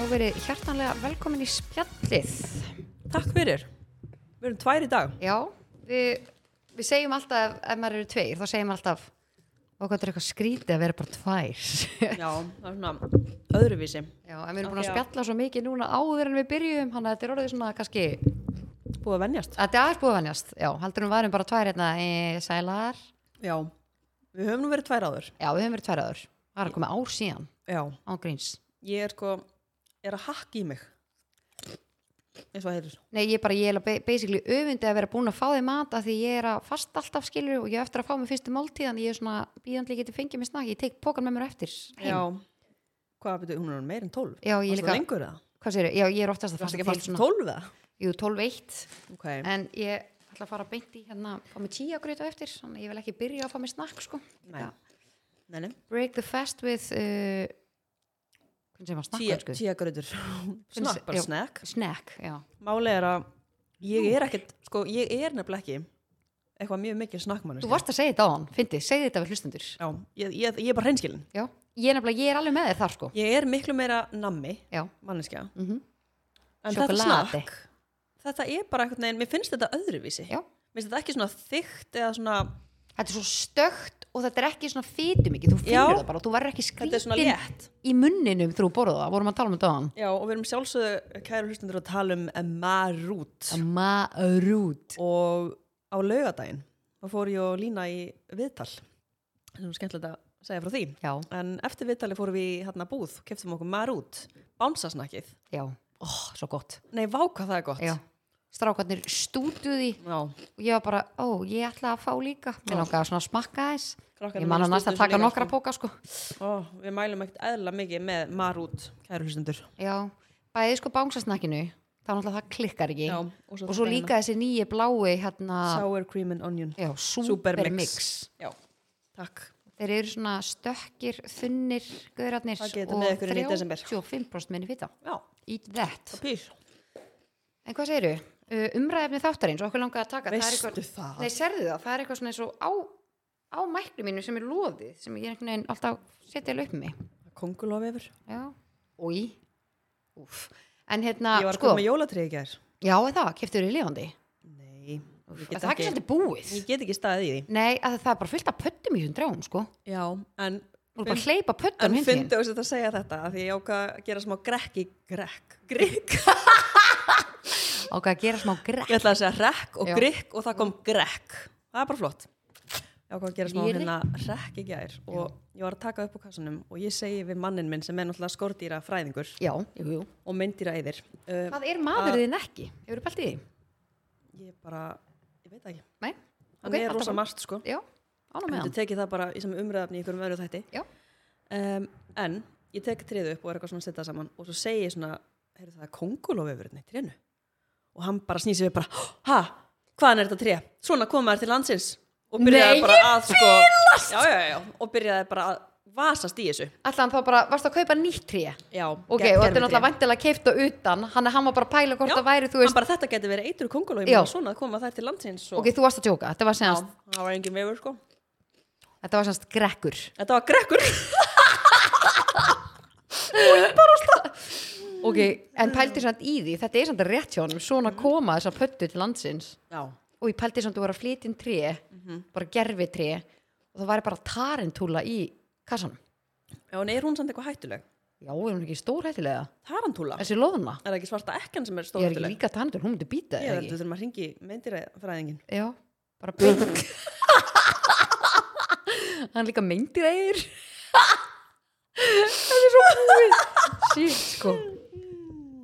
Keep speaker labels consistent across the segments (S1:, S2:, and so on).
S1: og verið hjartanlega velkomin í spjallið.
S2: Takk fyrir. Við erum tvær í dag.
S1: Já, við, við segjum alltaf, ef maður eru tveir, þá segjum við alltaf, og hvað er eitthvað skrítið að vera bara tvær.
S2: Já, það er svona öðruvísi.
S1: Já, en við erum búin að
S2: Já.
S1: spjalla svo mikið núna áður en við byrjum, hann að þetta er orðið svona kannski,
S2: Búið að venjast.
S1: þetta er aðeins búið að venjast. Já, heldur við varum bara tvær hérna í sælar.
S2: Já. Við höfum nú verið tvær áður.
S1: Já, við höfum verið tvær aður. Það er að koma ár síðan,
S2: Já.
S1: án gríns.
S2: Ég er sko, er að hakka í mig. Eins og það heitir.
S1: Nei, ég bara, ég er ba- basically öfundi að vera búin að fá því mat af því ég er að fasta alltaf skilur og ég er eftir að fá mér fyrstu máltíð en ég er svona býðandi ég geti fengið mér snakk, ég teik pókan með mér á eftir heim.
S2: Já. Hvað betur, hún er meir en tólf.
S1: Já, ég
S2: Varstu
S1: líka-
S2: lengur eða?
S1: Hvað sér, já, ég er oftast að
S2: Það
S1: fasta
S2: varst
S1: til
S2: ekki að fasta tólf eða?
S1: jú, 12 eitt,
S2: Ok.
S1: en ég ætla að fara beint í hérna, fá mér tíja greit á eftir, þannig að ég vil ekki byrja að fá mér snakk, sko.
S2: Nei.
S1: Já.
S2: Nei, nei.
S1: Break the fast with, uh, hvernig segir maður snakk,
S2: Tíja,
S1: hansku?
S2: tíja gröður. Snakk, bara
S1: Já.
S2: snakk.
S1: sko. Snack, já.
S2: Máli er að ég er ekkert, sko, ég er nefnilega ekki eitthvað mjög mikið snakkmann.
S1: Þú varst að segja þetta á hann, fyndi, segði þetta við hlustundur.
S2: Já, ég, ég, ég er bara hreinskilin.
S1: Já, ég er nefnilega, ég er alveg með þér þar, sko.
S2: Ég er miklu meira nammi,
S1: Já,
S2: manneskja.
S1: mhm,
S2: En
S1: Sjokolade.
S2: þetta snakk, þetta er bara einhvern veginn, mér finnst þetta öðruvísi.
S1: já.
S2: Mér finnst þetta ekki svona þygt eða svona,
S1: þetta er svo stökt og þetta er ekki svona fytum ekki, þú finnur
S2: Já.
S1: það bara og þú verður ekki
S2: þetta er svona
S1: skrítin
S2: létt.
S1: í munninum þegar þú borða það, vorum að tala um þetta á
S2: Já, og við erum sjálfsögðu, kæru hlustundur, að tala um marút.
S1: hann marút
S2: Og á laugadaginn, þá fór ég og Lína í viðtal. Það er skemmtilegt að segja frá því.
S1: já,
S2: En eftir viðtali fórum við í hérna búð, keftum okkur marút, bánsasnakkið.
S1: já, ó, svo gott
S2: Nei, váka það er gott.
S1: já, strákarnir stútuði
S2: Já.
S1: og ég var bara, ó, ég ætla að fá líka mér langaði svona að smakka þess
S2: Krakkarnir
S1: ég man að
S2: mínir
S1: næst
S2: stúddu
S1: að taka
S2: líka,
S1: nokkra
S2: sko.
S1: póka sko,
S2: Ó, við mælum ekkert eðla mikið með marút, kæru hlustundur.
S1: já, bæði sko bánsasnakkinu þá náttúrulega það klikkar ekki
S2: og
S1: og svo
S2: þetta
S1: líka þessi nýju blái hérna,
S2: Sour cream and onion
S1: já,
S2: Supermix.
S1: supermix
S2: Já, takk
S1: þeir eru svona stökkir, þunnir gaurarnir
S2: Það getur með
S1: og
S2: ykkur inn í desember.
S1: 35% minni fita
S2: Já,
S1: eat that,
S2: papír
S1: en hvað segiru? umræðefni þáttarins og okkur langar að taka það er
S2: Veistu
S1: eitthvað,
S2: það?
S1: nei serðu það, það er eitthvað svona eins og á, á mæklu mínu sem er loðið sem ég er einhvern veginn alltaf setja alveg upp með mig
S2: Kongulof yfir
S1: já, úi úf, en hérna
S2: Ég var að
S1: sko,
S2: koma með jólatrið í gær
S1: já en það, keftur þér í lifandi
S2: Nei, ég
S1: það
S2: get,
S1: er ekki
S2: ekki,
S1: svolítið búið
S2: ég get ekki staðið í
S1: nei, að það er bara fullt af pöttum í þessum dráum sko,
S2: því Já, en
S1: þú er bara að hleypa
S2: En
S1: pöttum hinn
S2: fyndi á þess að segja þetta af Því ég ákvað að gera smá grekk í grekk Grekk
S1: og að gera smá grætt
S2: Ég ætlaði að segja rekk og
S1: Já.
S2: grekk og það kom grekk Það er bara flott Ég ákvað að gera smá
S1: Ég er
S2: hérna rekk í gær og ég var að taka upp á kassanum og ég segi við mannin minn sem er náttúrulega skordýra fræðingur
S1: já, jú, jú
S2: og meindýra yfir uh,
S1: Hvað er maður þinn ekki? Hefur þú pælt í því?
S2: Ég bara, ég veit það ekki
S1: Nei?
S2: Hann er rosa margt sko
S1: Já, ána með
S2: Ég
S1: hann.
S2: teki það bara í sem umræðafni í einhverjum öðru þætti
S1: Já.
S2: um, En ég tek triðu upp og er eitthvað svona að setja saman og svo segi ég svona, heyrðu það er konguloföfurinn í trénu og hann bara snýsi við bara, ha, hvaðan er þetta tré? Svona koma þær til landsins og byrjaði
S1: Nei,
S2: bara að sko já, já, já, já, og byrjaði bara að vasast í þessu
S1: Allan þá bara, varst að kaupa nýtt tré?
S2: Já,
S1: Ok, og þetta
S2: ger-
S1: er
S2: gervitré.
S1: náttúrulega vantilega keift og utan, hann, hann var bara að pæla hvort
S2: Já,
S1: það væri, þú
S2: Hann
S1: veist,
S2: bara þetta getur verið eitur kongulofin
S1: Já.
S2: og svona koma þær til landsins og
S1: ok, þú varst að tjóka, þetta var
S2: já,
S1: senast,
S2: það var engin vefur sko
S1: þetta var senast grekkur.
S2: Þetta var grekkur
S1: Ok, Mhm. en pældi samt í því, þetta er samt rétt hjá honum, svona koma þessar pöttu til landsins
S2: Já,
S1: og ég pældi samt að þú var að flytja inn tré, bara gerfi tré og það væri bara tarintúla í kassanum.
S2: já, en er hún samt eitthvað hættuleg?
S1: Já, er hún ekki stórhættilega?
S2: Tarantúla?
S1: Þessi loðna?
S2: Er það ekki svarta ekkan sem er
S1: Ég er ekki
S2: stórhættuleg?
S1: líka tarintúla, hún myndi býta þig,
S2: Ég held við þurfum að ringi meindýrafræðingin.
S1: Já, bara beint Hann er líka meindir eigir Þetta er svo búið Sýtt sko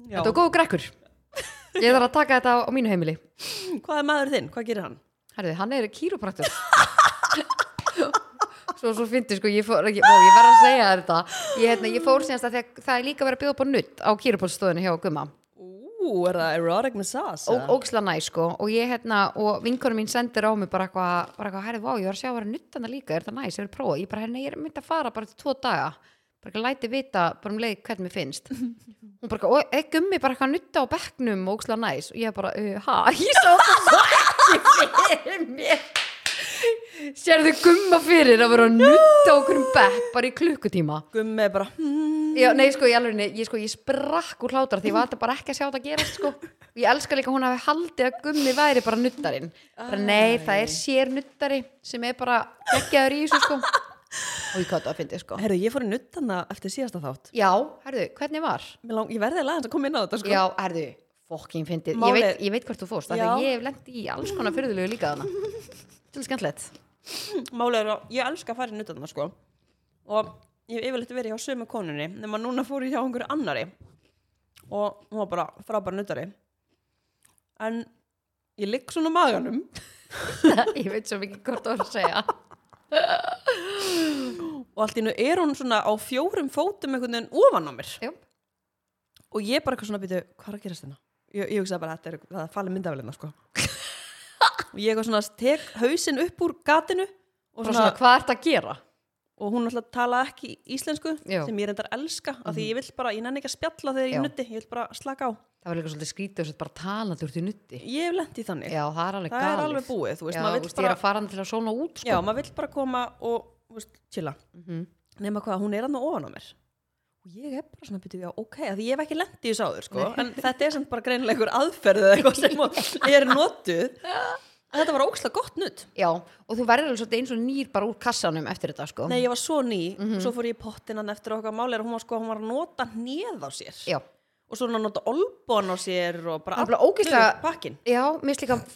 S2: Já.
S1: Þetta var góð grekkur Ég þarf að taka þetta á mínu heimili
S2: Hmm, Hvað er maður þinn? Hvað gerir hann?
S1: Herði, hann er kýrupraktur Svo, svo fyndi sko, ég, fór, ég, ó, ég verð að segja þér þetta Ég, hérna, ég fór síðanst að þegar, það er líka verið að bjóða upp á nutt á kýrupólstöðinu hjá Gumma
S2: Ú, er það erotic massage?
S1: og ógislega næ sko og ég hérna og vinkonum mín sendir á mig bara eitthvað, bara eitthvað, herrið, vá, ég var að sjá að vera nuttana líka, er það næs, er það prófað, ég bara, herrið, nei, ég er myndi að fara bara til tvo daga, bara eitthvað læti vita bara um leið hvernig mér finnst hún bara, eitthvað, og ekki um mig, bara eitthvað að nutta á bekknum og ógislega næs, og ég bara, uh, ha, ég sá það svo ekki fyrir mér sérðu gumma fyrir að vera að nutta okkur um bekk bara í klukkutíma
S2: Gummi er bara, hmm,
S1: Já, nei, sko, ég alveg, ég, sko, ég sprakk úr hlátur því ég var þetta bara ekki að sjá þetta gerast, sko og ég elska líka að hún hafi haldið að gummi væri bara nuttarinn, bara nei, það er sér nuttari sem er bara geggjaður í þessu, sko og ég kátt að fyndi, sko
S2: Herru, ég fór í nuttana eftir síðasta þátt
S1: Já, herðu, hvernig var?
S2: Mig lang, Ég verði að laga hans að koma inn á þetta sko.
S1: Já, herðu, fokkin fyndið ég,
S2: Málið-
S1: veit- ég veit hvert þú fórst, af því
S2: Já.
S1: að ég hef lent í alls konar fyrðulegu líka þarna Til skemmtilegt
S2: Málið er að ég elska að fara í nuttana sko. og ég hef yfirleitt verið hjá sömu konunni nema núna fór ég hjá einhverju annari og hún var bara frábær nuttari en ég ligg svona á maganum
S1: Ég veit svo mikið hvort þú er að segja
S2: og allt í nú er hún svona á fjórum fótum einhvern veginn ofan á mér
S1: Jú,
S2: og ég bara eitthvað svona býtu, hvað er að gerast hérna? Ég, ég hugsaði bara, þetta er, það er falið myndafélina sko. og ég eitthvað svona tek hausinn upp úr gatinu og,
S1: bara
S2: svona,
S1: svona, hvað ert að gera?
S2: og hún alltaf tala ekki íslensku
S1: Já. Mhm.
S2: sem ég reyndar elska af því ég vil bara, ég nenni ekki að spjalla þegar
S1: Já.
S2: ég nutti ég vil bara slaka á,
S1: Það var líka svolítið skrítið og sett bara talandi úr því nutti.
S2: ég hef lent í þannig
S1: Já, það er alveg
S2: það
S1: galið.
S2: er alveg búið, þú veist,
S1: Já,
S2: maður
S1: þú
S2: vill
S1: veist, ég er
S2: bara
S1: að fara hann til að svona út, sko.
S2: já, maður vill bara koma og þú veist, chilla,
S1: Mhm.
S2: nema hvað, hún er hann ofan á mér og ég er bara svona byrjuð, já, ok, að ég hef ekki lent í þessu áður sko, en þetta er samt bara greinilega einhver aðferð eða eitthvað sem að er notuð en þetta var ókslega gott nutt
S1: Já, og þú verður alveg svolítið eins og nýr bara úr kassanum eftir þetta, sko.
S2: nei, ég var svo ný,
S1: Mhm.
S2: svo fór ég í pottinan eftir okkar máli er að hún var sko, hún var að nota hneð á sér
S1: Já,
S2: og svo hún að nota olbón á sér og bara
S1: Það er bara ógeðslega-
S2: pakkin
S1: já mér finnst líka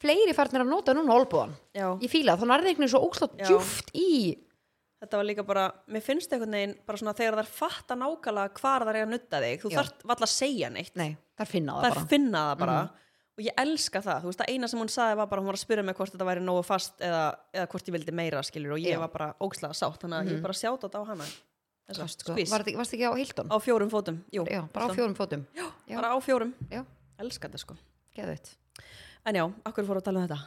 S1: fleiri farnir að nota núna olbúan.
S2: já.
S1: Ég fíla það, þá nærði einhvern veginn svo óslátt
S2: Já.
S1: djúft í.
S2: þetta var líka bara, mér finnst einhvern veginn bara svona þegar þær fatta nákvæmlega hvar þær er að nutta þig, þú
S1: Já.
S2: þarft valla að segja neitt
S1: Nei, þar finna það
S2: þær
S1: bara. Mhm.
S2: finna það bara og ég elska það, þú veist, það eina sem hún saði var bara hún var að spyrja mig hvort þetta væri nógu fast eða, eða hvort ég vildi meira, skilur, og ég
S1: Já.
S2: var bara ógslega sátt, þannig að ég bara sjátt þetta á hana þessa,
S1: Kast, sko.
S2: skvís,
S1: Var þetta ekki- Varst ekki á Hilton?
S2: á fjórum fótum Jú,
S1: Já, bara á fjórum
S2: fjórum.
S1: fótum. já.
S2: bara á fjórum,
S1: Já,
S2: elska þetta sko
S1: geðu þetta.
S2: en já, akkur fór að tala um þetta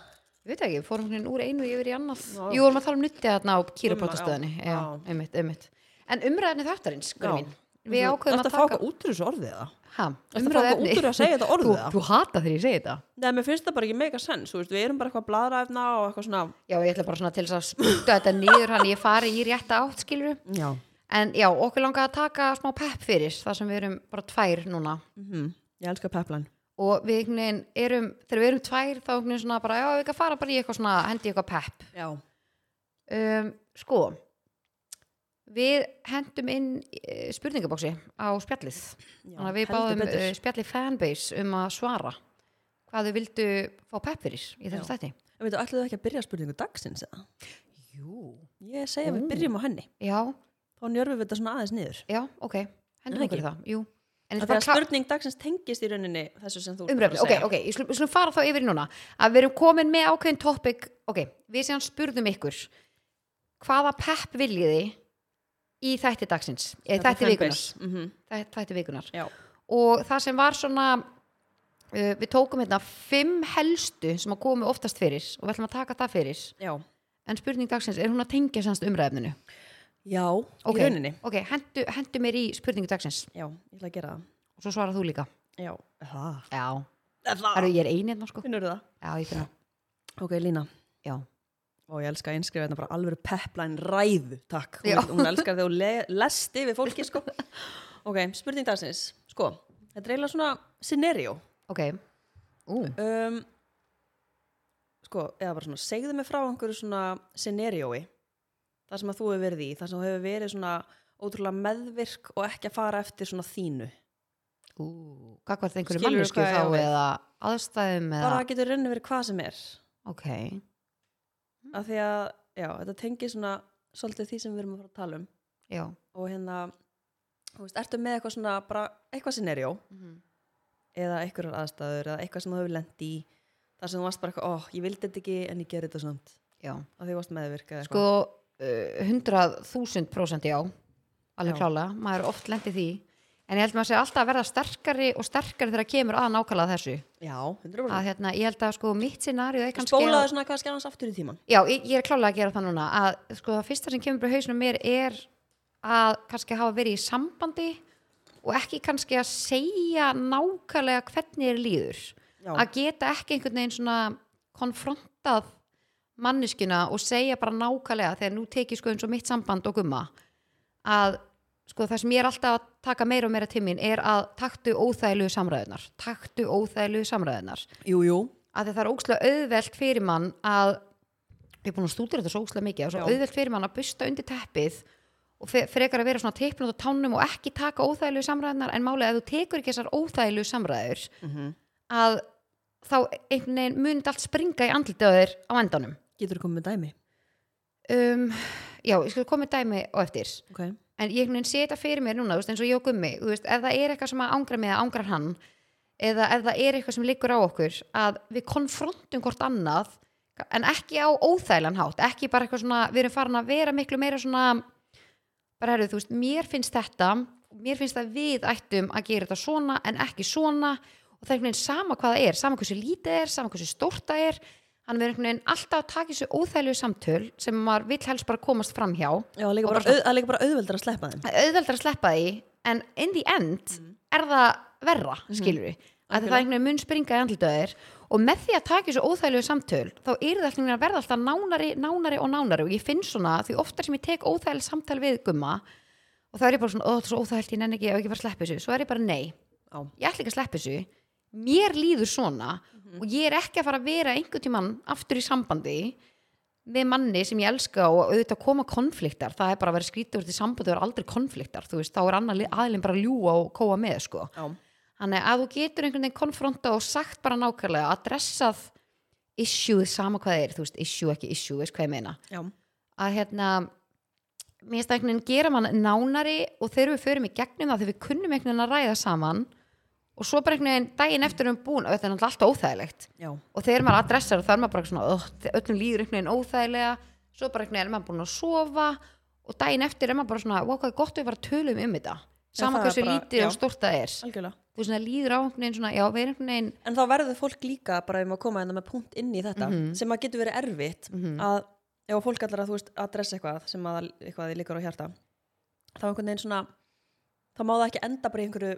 S1: Við veit ekki, við fórum hérna úr einu yfir í annað.
S2: Já.
S1: Jú, vorum að tala um nuttið þarna á kýraprótastöðinni.
S2: Um, já.
S1: Já,
S2: Já.
S1: einmitt, einmitt. En umræðinni þáttarins,
S2: Já.
S1: Gunnar mín. Við ákveðum
S2: Ertu
S1: að taka...
S2: fá út úr þessu orðið það
S1: Ha,
S2: Þetta fá eitthvað út úr að segja þetta
S1: Þú,
S2: orðið það?
S1: þú hata þegar ég segi þetta.
S2: Nei, mér finnst það bara ekki mega sens, þú veist, við erum bara eitthvað bladraefna og eitthvað svona
S1: Já, ég ætla bara svona til þess að spúta þetta niður hann ég fari í rétta átt, skilur.
S2: Já.
S1: En já, okkur langar að taka smá pepp fyrir þar sem við erum bara tvær núna.
S2: Mhm. Ég elska peplan.
S1: Og við einhvern veginn erum, þegar við erum tvær þá einhvern veginn svona bara, já, við ekki að fara bara í eitthvað svona, hendi í eitthvað pepp.
S2: Já.
S1: um, sko við hendum inn uh, spurningabóksi á spjallið þannig að við
S2: heldur
S1: báðum
S2: betur.
S1: uh, spjallið fanbase um að svara hvað þau vildu fá pepp fyrir í þessum
S2: Já.
S1: stætti
S2: Ég veit, ætlaðu ekki að byrja spurningu dagsins eða?
S1: Jú.
S2: Ég segja
S1: Ú.
S2: að við byrjum á henni.
S1: já,
S2: Þá njörfum við þetta svona aðeins niður.
S1: já, ok hendum
S2: Nei,
S1: okkur í
S2: ekki.
S1: það, jú en
S2: Það
S1: þetta
S2: er
S1: er bara
S2: spurning dagsins tengist í rauninni þessu sem þú ert
S1: umræfni,
S2: að
S1: ok,
S2: segja.
S1: ok, ég slum, ég slum fara þá yfir í núna að við erum komin með ákveðin topic ok, við séum spurðum ykkur hvaða pepp viljið þið í þætti dagsins eða
S2: Þetta er
S1: þætti vikunar,
S2: fanbase. Mhm.
S1: Þæ- þætti vikunar
S2: Já.
S1: og það sem var svona uh, við tókum hérna fimm helstu sem að komu oftast fyrir og við ætlum að taka það fyrir
S2: Já.
S1: en spurning dagsins, er hún að tengja sannst umræðinu?
S2: Já,
S1: Ok,
S2: í rauninni.
S1: ok, hendu, hendu mér í spurningu dagsins
S2: Já, ég ætla að gera það.
S1: og svo svarar þú líka
S2: Já. Það.
S1: Já,
S2: Það.
S1: Heru, ég er einirna sko
S2: Finnur það?
S1: Já, ég finna,
S2: Ok, Lína.
S1: já,
S2: Og ég elska að innskrifa þetta bara alveg peplan ræðu, takk. Hún,
S1: Já.
S2: hún elskar þegar hún le lest yfir fólki, sko. ok, spurning dagsins. Sko, þetta er eiginlega svona scenario.
S1: ok Ú,
S2: um, sko, eða bara svona segðu mig frá einhverju svona scenariói það sem að þú hefur verið í, það sem þú hefur verið svona ótrúlega meðvirk og ekki að fara eftir svona þínu
S1: ú, hvað hvað einhverju
S2: Skilurðu
S1: mannesku
S2: hvað ég á
S1: þá
S2: við?
S1: eða aðstæðum eða,
S2: bara það getur raunni verið hvað sem er
S1: ok Mm.
S2: af því að, já, þetta tengir svona svolítið því sem við erum að fara að tala um
S1: Já,
S2: og hérna, þú veist, ertu með eitthvað svona bara eitthvað scenarió eða einhverjar aðstæður eða eitthvað sem þú hefur lent í þar sem þú varst bara eitthvað, ó, ég vildi þetta ekki en ég gerði þetta samt
S1: já
S2: af því þú varst meðvirk eða
S1: sko hundrað þúsund prósent já alveg
S2: Já.
S1: klálega, maður er oft lendið því en ég held maður sé alltaf að verða sterkari og sterkari þegar kemur að nákvæmlega þessu
S2: Já, 100%
S1: að hérna, ég held að sko mitt scenarió er kannski að,
S2: spólaðu svona kannski annars aftur í tíman
S1: já, ég, ég er klálega að gera það núna að sko það fyrsta sem kemur bara í hausnum mér er að kannski hafa verið í sambandi og ekki kannski að segja nákvæmlega hvernig er líður
S2: Já.
S1: að geta ekki einhvern veginn svona konfrontað manneskina og segja bara nákvæmlega þegar nú tekið sko eins og mitt samband og gumma að sko það sem ég er alltaf að taka meira og meira tímin er að taktu óþæglu samræðunar taktu óþæglu samræðunar
S2: Jú, jú,
S1: að það er ókslega auðvelt fyrir mann að ég er búin að stúdira þetta svo ókslega mikið og svo
S2: Já.
S1: auðvelt fyrir mann að busta undir teppið og fe- frekar að vera svona teipnum og tánum og ekki taka óþæglu samræðunar en málega ef þú tekur ekki þessar óþæglu samræður
S2: Mhm.
S1: að þá einhvern veginn munið allt springa í andlitið á þér á endanum
S2: getur þú komið með dæmi
S1: um, já, ég skal koma með dæmi og eftir
S2: Ok,
S1: en ég einhvern veginn sé þetta fyrir mér núna þú veist, eins og ég og gummi, þú veist, ef það er eitthvað sem að ángra mig eða ángrar hann eða ef það er eitthvað sem liggur á okkur að við konfrontum hvort annað en ekki á óþægilegan hátt ekki bara eitthvað svona, við erum farin að vera miklu meira svona bara herrðu, þú veist, mér finnst þetta mér finnst að við ættum að gera þetta svona en ekki svona og það er einhvern veginn sama hvað það er, sama hversu lítið er sama hversu stórt það er hann verður einhvern veginn alltaf að taka þessu óþægilegu samtöl sem maður vill helst bara komast fram hjá
S2: já, það er líka
S1: Og
S2: bara,
S1: bara-
S2: auð- það er líka bara auðveldar að sleppa þeim
S1: auðveldar að sleppa því en in the end er það verra, skilur við að það er
S2: Algjörlega.
S1: einhvern veginn mun springa í andlutöðir og með því að taka þessu óþægilegu samtöl þá er það alltaf að verða alltaf nánari, nánari og nánari og ég finn svona því oftar sem ég tek óþægileg samtal við gumma og þá er ég bara svona, ó, það er svo óþægilegt, ég nenni ekki, ég hef ekki bara að sleppa þessu svo er ég bara, nei,
S2: Já,
S1: ég ætla ekki að sleppa þessu mér líður svona og ég er ekki að fara að vera einhvern tímann aftur í sambandi með manni sem ég elska og auðvitað koma konfliktar það er bara að vera skrítið úr því sambandi og vera aldrei konfliktar, þú veist, þá er annar aðilin bara að ljúa og kóa með, sko
S2: já,
S1: þannig að þú getur einhvern veginn konfronta og sagt bara nákvæmlega, adressað issueð sama hvað það er, þú veist issue ekki issue, veist hvað ég meina
S2: já
S1: að hérna mér finnst það einhvern veginn gera mann nánari og þegar við förum í gegnum það þegar við kunnum einhvern veginn að ræða saman og svo bara einhvern veginn daginn eftir um búin og þetta er náttúrulega alltaf óþægilegt
S2: Já,
S1: og þegar maður adressar þá er maður bara svona "Ugh, öllum líður einhvern veginn óþægilega svo bara einhvern veginn er maður búin að sofa og daginn eftir er maður bara svona wow, hvað er gott að við bara tölum um þetta sama
S2: það er
S1: hversu
S2: bara-
S1: lítið
S2: já.
S1: og stórt það er
S2: algjörlega
S1: þú svona líður á einhvern veginn svona já, við erum einhvern veginn
S2: En þá verður fólk líka bara ef maður koma hérna með punkt inn í þetta sem að getur verið erfitt
S1: Mhm,
S2: að ef að fólk allar að þú veist að dressa eitthvað sem að eitthvað þið líkar á hjarta þá einhvern veginn svona þá má það ekki enda bara í einhverju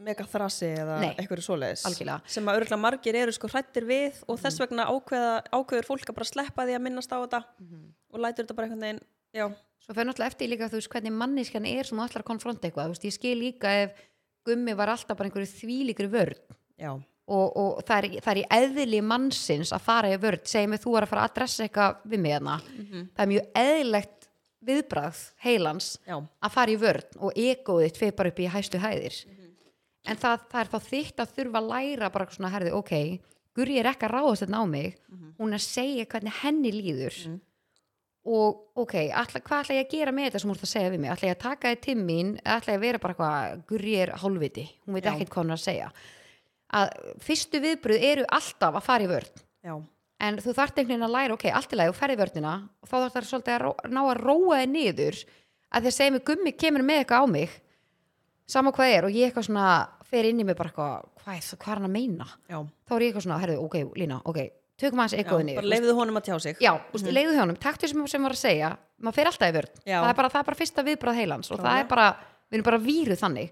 S2: mega þrasi eða
S1: Nei,
S2: einhverju svoleiðis
S1: algjörlega.
S2: sem að örgulega margir eru sko hrættir við og þess vegna ákveða, ákveður fólk að bara sleppa því að minnast á þetta og lætur þetta bara einhvern veginn já,
S1: svo fyrir náttúrulega eftir líka þú veist hvernig manneskjan er sem þú ætlar að konfronta eitthvað þú veist, ég skil líka ef gummi var alltaf bara einhverju þvílíkri vörn
S2: já,
S1: og, og það, er, það er í eðli mannsins að fara í vörn segjum við þú er að fara að adressa eitthvað við mig hérna
S2: Mhm.
S1: það er mjög eðlilegt viðbragð heilans
S2: já,
S1: að fara í vörn og egoið þitt fer bara upp í hæstu hæðir en það, það er þá þitt að þurfa að læra bara svona herði, ok, Guri er ekki að ráðast þetta á mig hún er að segja hvernig henni líður og ok, alla, hvað ætla ég að gera með þetta sem hún er að segja við mig, ætla ég að taka þið til mín eða ætla ég að vera bara hvað Guri er hálfviti, hún veit
S2: Já.
S1: ekkert hvað hún er að segja að fyrstu viðbröð eru alltaf að fara í vörn
S2: já,
S1: en þú þarft einhvern veginn að læra ok, allt í lagi og ferði vörnina og þá þarf það svolítið að ró- ná að róa þið niður að þið segjum mig gummi kemur með eitthvað á mig sama hvað er og ég eitthvað svona fer inn í mig bara eitthvað, hvað er það, hvað er hann að meina
S2: já,
S1: þá er ég eitthvað svona, herðu, ok, Lína, ok tökum aðeins
S2: já
S1: eitthvað niður
S2: bara leifuðu honum að tjá sig Mhm.
S1: já, mm -hmm. leiðu hjónum, taktu sem, sem var að segja maður fer alltaf í vörn,
S2: Já.
S1: það er, bara, það er bara fyrsta viðbrað heilans og það
S2: Klálega.
S1: er bara, við erum bara víruð þannig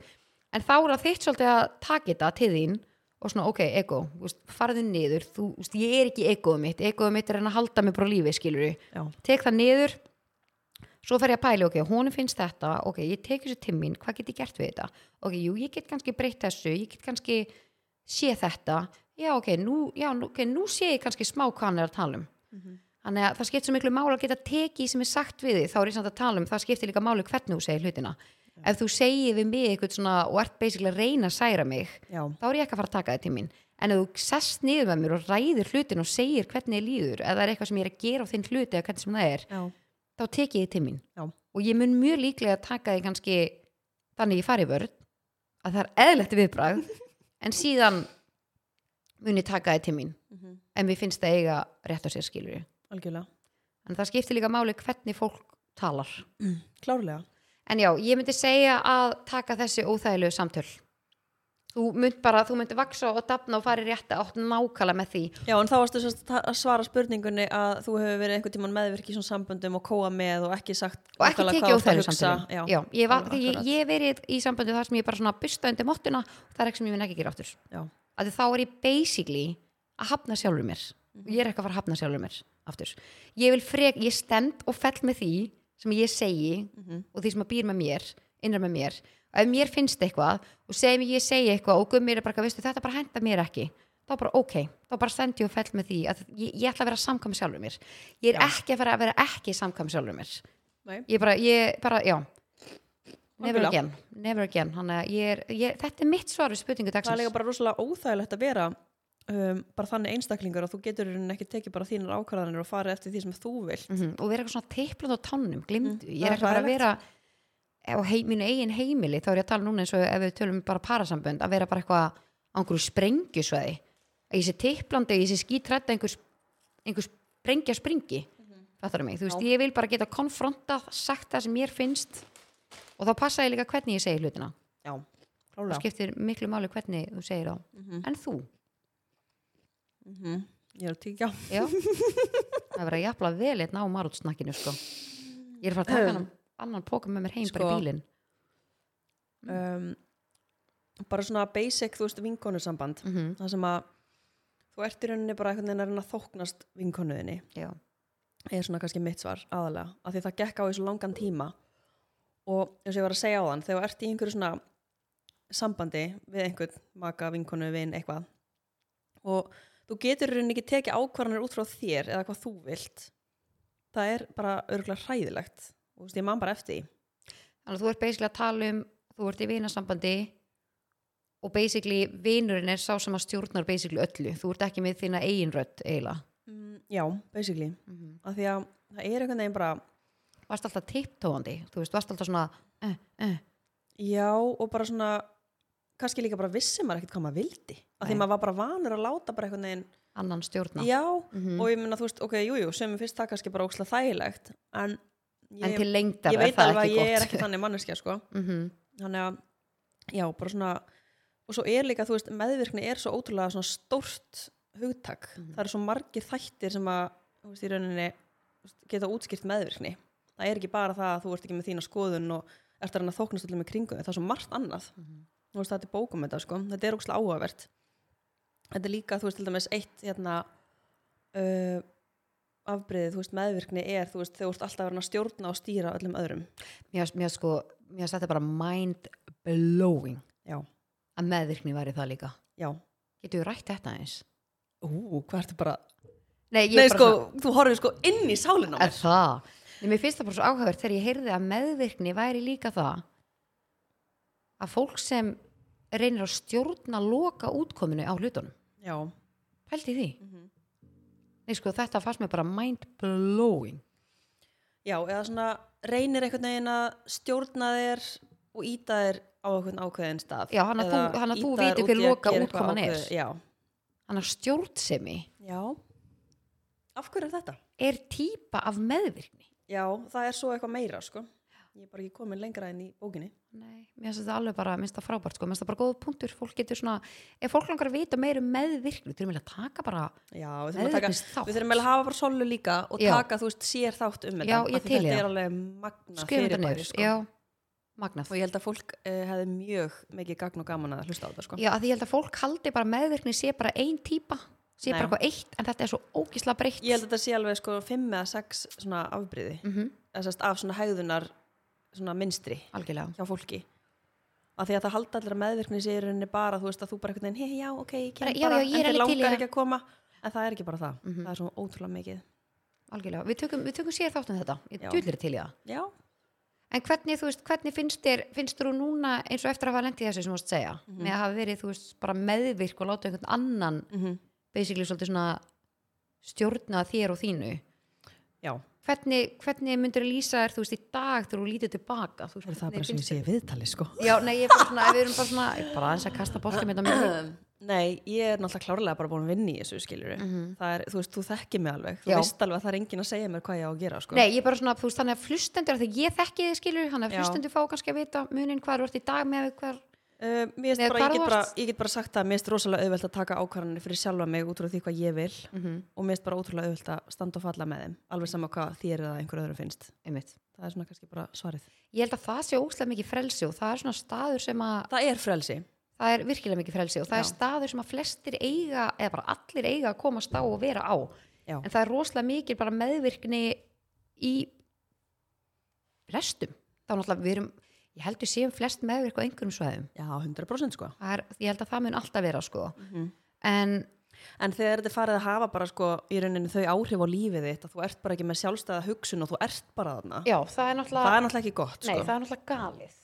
S1: en þá er það þitt svolítið að taka þetta til þín og svona, ok, ego þú veist, farðu niður, þú, þú veist, ég er ekki egoð mitt, egoð mitt er en að halda mig bara á lífi skilur við,
S2: já,
S1: tek það niður svo fer ég að pæli, ok, honum finnst þetta ok, ég tek þessu til mín, hvað get ég gert við þetta ok, jú, ég get kannski breytt þessu ég get kannski sé þetta já, ok, nú, já, nú- okay, nú sé ég kannski smá hvað hann er að tala um þannig að það skiptir svo miklu máli að geta tekið sem er sagt við þig, þá er ég samt að tala um það skiptir líka máli hvernig þú segir hlutina ef þú segir við mig eitthvað svona og ert basically að reyna að særa mig
S2: já,
S1: þá er ég ekki að fara að taka það til mín en ef þú sest niður með mér og ræðir hlutin og segir hvernig ég líður, eða það er eitthvað sem ég er að gera á þinn hluti eða hvernig sem það er,
S2: já,
S1: þá tekið þið til mín
S2: já,
S1: og ég mun mjög líklega að taka því kannski þannig ég fari í vörð að það er eðlegt viðbragð en síðan mun ég taka því til mín
S2: Mhm.
S1: en mér finnst það eiga rétt á sér skilur
S2: algjörlega
S1: en það skiptir líka máli hvernig fólk talar
S2: klárlega
S1: en já, ég myndi segja að taka þessi óþægilegu samtöl þú mynd bara, þú myndi vaksa og dafna og fara í rétta átt nákala með því
S2: Já, en þá varstu sem sagt að svara spurningunni að þú hefur verið einhvern tímann meðvirk í svona samböndum og kóa með og ekki sagt
S1: og ekki tekið
S2: nákvæmlega hvað þú ert að
S1: óþægilegu
S2: hugsa.
S1: samtöl
S2: Já,
S1: já, ég, var,
S2: alveg
S1: því ég,
S2: akkurat.
S1: ég hef verið í samböndu þar sem ég bara svona busta undir mottuna það er ekki sem ég mun ekki gera áttur
S2: já,
S1: að þá er ég basically að hafna sjálfur mér og ég er ekki að fara að hafna sjálfur mér aftur,
S2: Mhm.
S1: ég vil frek, ég stend og fell með því sem ég segi og því sem að býr með mér innra með mér ef mér finnst eitthvað og segjum ég segi eitthvað og gummir er bara, veistu, þetta bara henda mér ekki þá bara ok, þá bara stend ég og fell með því að ég, ég ætla að vera samkvæm sjálfur mér ég er
S2: Já.
S1: ekki að fara að vera ekki samkvæm sjálfur mér
S2: Nei.
S1: ég bara, ég bara, já never
S2: Algjörlega.
S1: again, never again þannig að ég er, ég, þetta er mitt svar við spurningu
S2: það er
S1: dagsins
S2: líka bara rosalega óþægilegt að vera um, bara þannig einstaklingur að þú getur í rauninni ekki tekið bara þínar ákvarðanir og farið eftir því sem þú vil
S1: Mhm, og vera eitthvað svona teiplund á tánum glimdu,
S2: Mm,
S1: ég er
S2: það er
S1: ekki bara að
S2: hræðilegt.
S1: vera og hei, mínu eigin heimili þá er ég að tala núna eins og ef við tölum um bara parasambönd að vera bara eitthvað á einhverju sprengjusvæði að ég sé teiplandi og ég sé skítrætt einhver, einhver sprengja springi þetta er mig, þú veist,
S2: Mhm. Já.
S1: ég vil bara geta konfrontað, sagt það sem mér finnst og þá passa ég líka hvernig ég segi hlutina
S2: já,
S1: það
S2: klálega
S1: skiptir miklu máli hvernig þú segir þá en þú,
S2: Mhm. ég er að tíkja
S1: já það er verið að jafla vel eitt ná marútsnakkinu sko. ég er að fara að taka hann annan póka með mér heim bara í
S2: Ehm. Sko.
S1: bílinn
S2: um, bara svona basic þú veist vinkonusamband
S1: mm -hmm.
S2: það sem að þú ert í rauninni bara einhvern veginn að reyna að þóknast vinkonuðinni
S1: Já,
S2: er svona kannski mitt svar aðalega af því það gekk á þessu langan tíma og eins og ég var að segja á þann þegar þú ert í einhverju svona sambandi við einhvern maka, vinkonu, vin, eitthvað og þú getur í rauninni ekki tekið ákvarðanir út frá þér eða hvað þú vilt það er bara örgulega hræðilegt og þú veist, ég man bara eftir því
S1: þannig að þú ert basically að tala um þú ert í vinasambandi og basically vinurinn er sá sem að stjórnar basically öllu, þú ert ekki með þína eigin rödd eiginlega.
S2: mm, já, basically,
S1: Mm -hmm.
S2: af því að það er einhvern veginn bara
S1: Varst alltaf tipptóandi, þú veist, varst alltaf svona eh, eh.
S2: Já, og bara svona kannski líka bara vissi maður ekkert hvað maður vildi af því
S1: Nei.
S2: maður var bara vanur að láta bara einhvern veginn
S1: annan stjórna
S2: já,
S1: Mhm.
S2: og ég meina þú veist, ok, jújú jú, sem finnst það kannski bara ókslega þægilegt en ég,
S1: en til lengdar
S2: ég
S1: er
S2: veit
S1: það
S2: alveg
S1: ekki
S2: að ég er
S1: gott
S2: ekki þannig manneskja sko.
S1: mm
S2: þannig að, já, bara svona og svo er líka, þú veist, meðvirkni er svo ótrúlega svona stórt hugtak það eru svo margir þættir sem að þú veist, í rauninni þú veist, geta útskýrt meðvirkni það er ekki bara það að þú ert ekki með þína skoðun og ert að reyna að þóknast allir með kringu þig. það er svo margt annað þú veist, þetta er bókum þetta, sko, þetta er ókslega áhugavert þetta er líka, þú veist, til dæmis eitt hérna uh, afbreyðið, þú veist, meðvirkni er þú veist, þau ert alltaf að vera að stjórna og stýra öllum öðrum,
S1: mér, fannst- mér fannst sko, mér fannst þetta bara mind blowing
S2: já,
S1: að meðvirkni væri það líka
S2: já
S1: getur við rætt þetta eins?
S2: ú, hvað ertu bara
S1: Nei, ég er
S2: Nei,
S1: bara
S2: sko,
S1: svona-
S2: þú horfir sko inn í sálinn á
S1: Er
S2: mér
S1: það? Nei, mér finnst það bara svo áhugavert þegar ég heyrði að meðvirkni væri líka það að fólk sem reynir að stjórna loka útkominu á hlutunum.
S2: já,
S1: Pældi því? Nei, sko, þetta fannst mér bara mind blowing.
S2: já, eða svona reynir einhvern veginn að stjórna þér og íta þér á einhvern ákveðin stað
S1: Já, þannig að
S2: Eða
S1: þú- þannig að þú
S2: ýta þér
S1: vitir
S2: út
S1: hver
S2: í að
S1: loka
S2: gera eitthvað
S1: útkoman er.
S2: ákveðið, já,
S1: Þannig að stjórnsemi
S2: já, af hverju er þetta?
S1: er típa af meðvirkni.
S2: Já, það er svo eitthvað meira, sko. Ég er bara ekki komin lengra enn í bókinni.
S1: Nei, mér finnst þetta alveg bara, minnst það frábært, sko, minnst það bara góð punktur. Fólk getur svona, ef fólk langar að vita meira um meðvirkni, þú erum að taka bara,
S2: Já, við þurfum, að taka,
S1: Meðvirknisþátt.
S2: við þurfum eiginlega að hafa bara solu líka og
S1: Já.
S2: taka, þú veist, sér þátt um þetta.
S1: Já,
S2: af
S1: ég
S2: því
S1: til í
S2: Þetta
S1: það.
S2: er alveg magna
S1: skrifum þetta
S2: fyrirbæri,
S1: nefnir.
S2: sko.
S1: Já, magnað.
S2: Og ég held að fólk uh, hefði mjög mikið gagn og gaman að hlusta á þetta, sko.
S1: Já, að því ég held að fólk haldi bara meðvirkni sé bara ein típa, sé
S2: Nei.
S1: bara eitthvað eitt en þetta er svo ógísla breytt
S2: Ég held að þetta sé alveg, sko, fimm eða sex svona afbriði,
S1: mm
S2: þessast af svona hægðunar, svona minstri
S1: algjörlega
S2: hjá fólki. Af því að það halda allir að meðvirkni sér rauninni bara, þú veist, að þú bara einhvern veginn, hei, já, ok, ég kem
S1: Bara, já,
S2: bara,
S1: já, ég er
S2: en þér
S1: alveg til í
S2: langar
S1: það. Mhm.
S2: ekki að koma. En það er ekki bara það. Það er svo ótrúlega mikið.
S1: algjörlega, við tökum, við tökum sér þátt um þetta ég
S2: Já.
S1: dullir til í það
S2: Já,
S1: en hvernig, þú veist, hvernig finnst þér finnst þú núna eins og eftir að hafa lent í þessu sem þú varst að segja með að hafa verið, þú veist, bara meðvirk og láta einhvern annan
S2: mm
S1: basically svolítið svona stjórna þér og þínu
S2: já.
S1: hvernig, hvernig myndur lýsa þér, þú veist, í dag þegar þú lítið tilbaka þú veist, hvernig finnst
S2: sé viðtali, sko.
S1: þér- Já, nei, ég er bara svona, ef við erum bara svona ég er bara aðeins að kasta boltum þetta með
S2: Nei, ég er náttúrulega klárlega bara búin að vinna í þessu, skiljur Það er, þú veist, þú þekkir mig alveg. Þú
S1: Mhm. Já.
S2: veist alveg að það er enginn að segja mér hvað ég á að gera, sko.
S1: Nei, ég er bara svona, þú veist, þannig að flustendur þegar ég þekki þið skilur, þannig
S2: Já.
S1: að flustendur fá kannski að vita munin hvað þú ert í dag með hver,
S2: Uh, mér
S1: Nei,
S2: finnst bara,
S1: hvar
S2: ég
S1: þú
S2: get bara,
S1: varst?
S2: ég get bara sagt það að mér finnst rosalega auðvelt að taka ákvarðanir fyrir sjálfa mig út frá því hvað ég vil og mér finnst bara ótrúlega auðvelt að standa og falla með þeim, alveg sama hvað þér eða einhver öðru finnst.
S1: einmitt.
S2: Það er svona kannski bara svarið.
S1: Ég held að það sé óslega mikið frelsi og það er svona staður sem að,
S2: Það er frelsi.
S1: það er virkilega mikið frelsi og það er
S2: Já.
S1: staður sem að flestir eiga, eða bara allir eiga að komast á og vera á.
S2: Já,
S1: En það er rosalega mikið bara meðvirkni í restum. Þá náttúrulega við erum, ég held við séum flest meðvirk á einhverjum svæðum
S2: Já, 100% sko.
S1: Það er, ég held að það mun alltaf vera sko
S2: Mhm.
S1: en
S2: En þegar þetta er farið að hafa bara sko í raunininu þau áhrif á lífið þitt að þú ert bara ekki með sjálfstæða hugsun og þú ert bara þarna.
S1: já, það er náttúrulega
S2: Það er náttúrulega ekki gott sko.
S1: nei, það er náttúrulega galið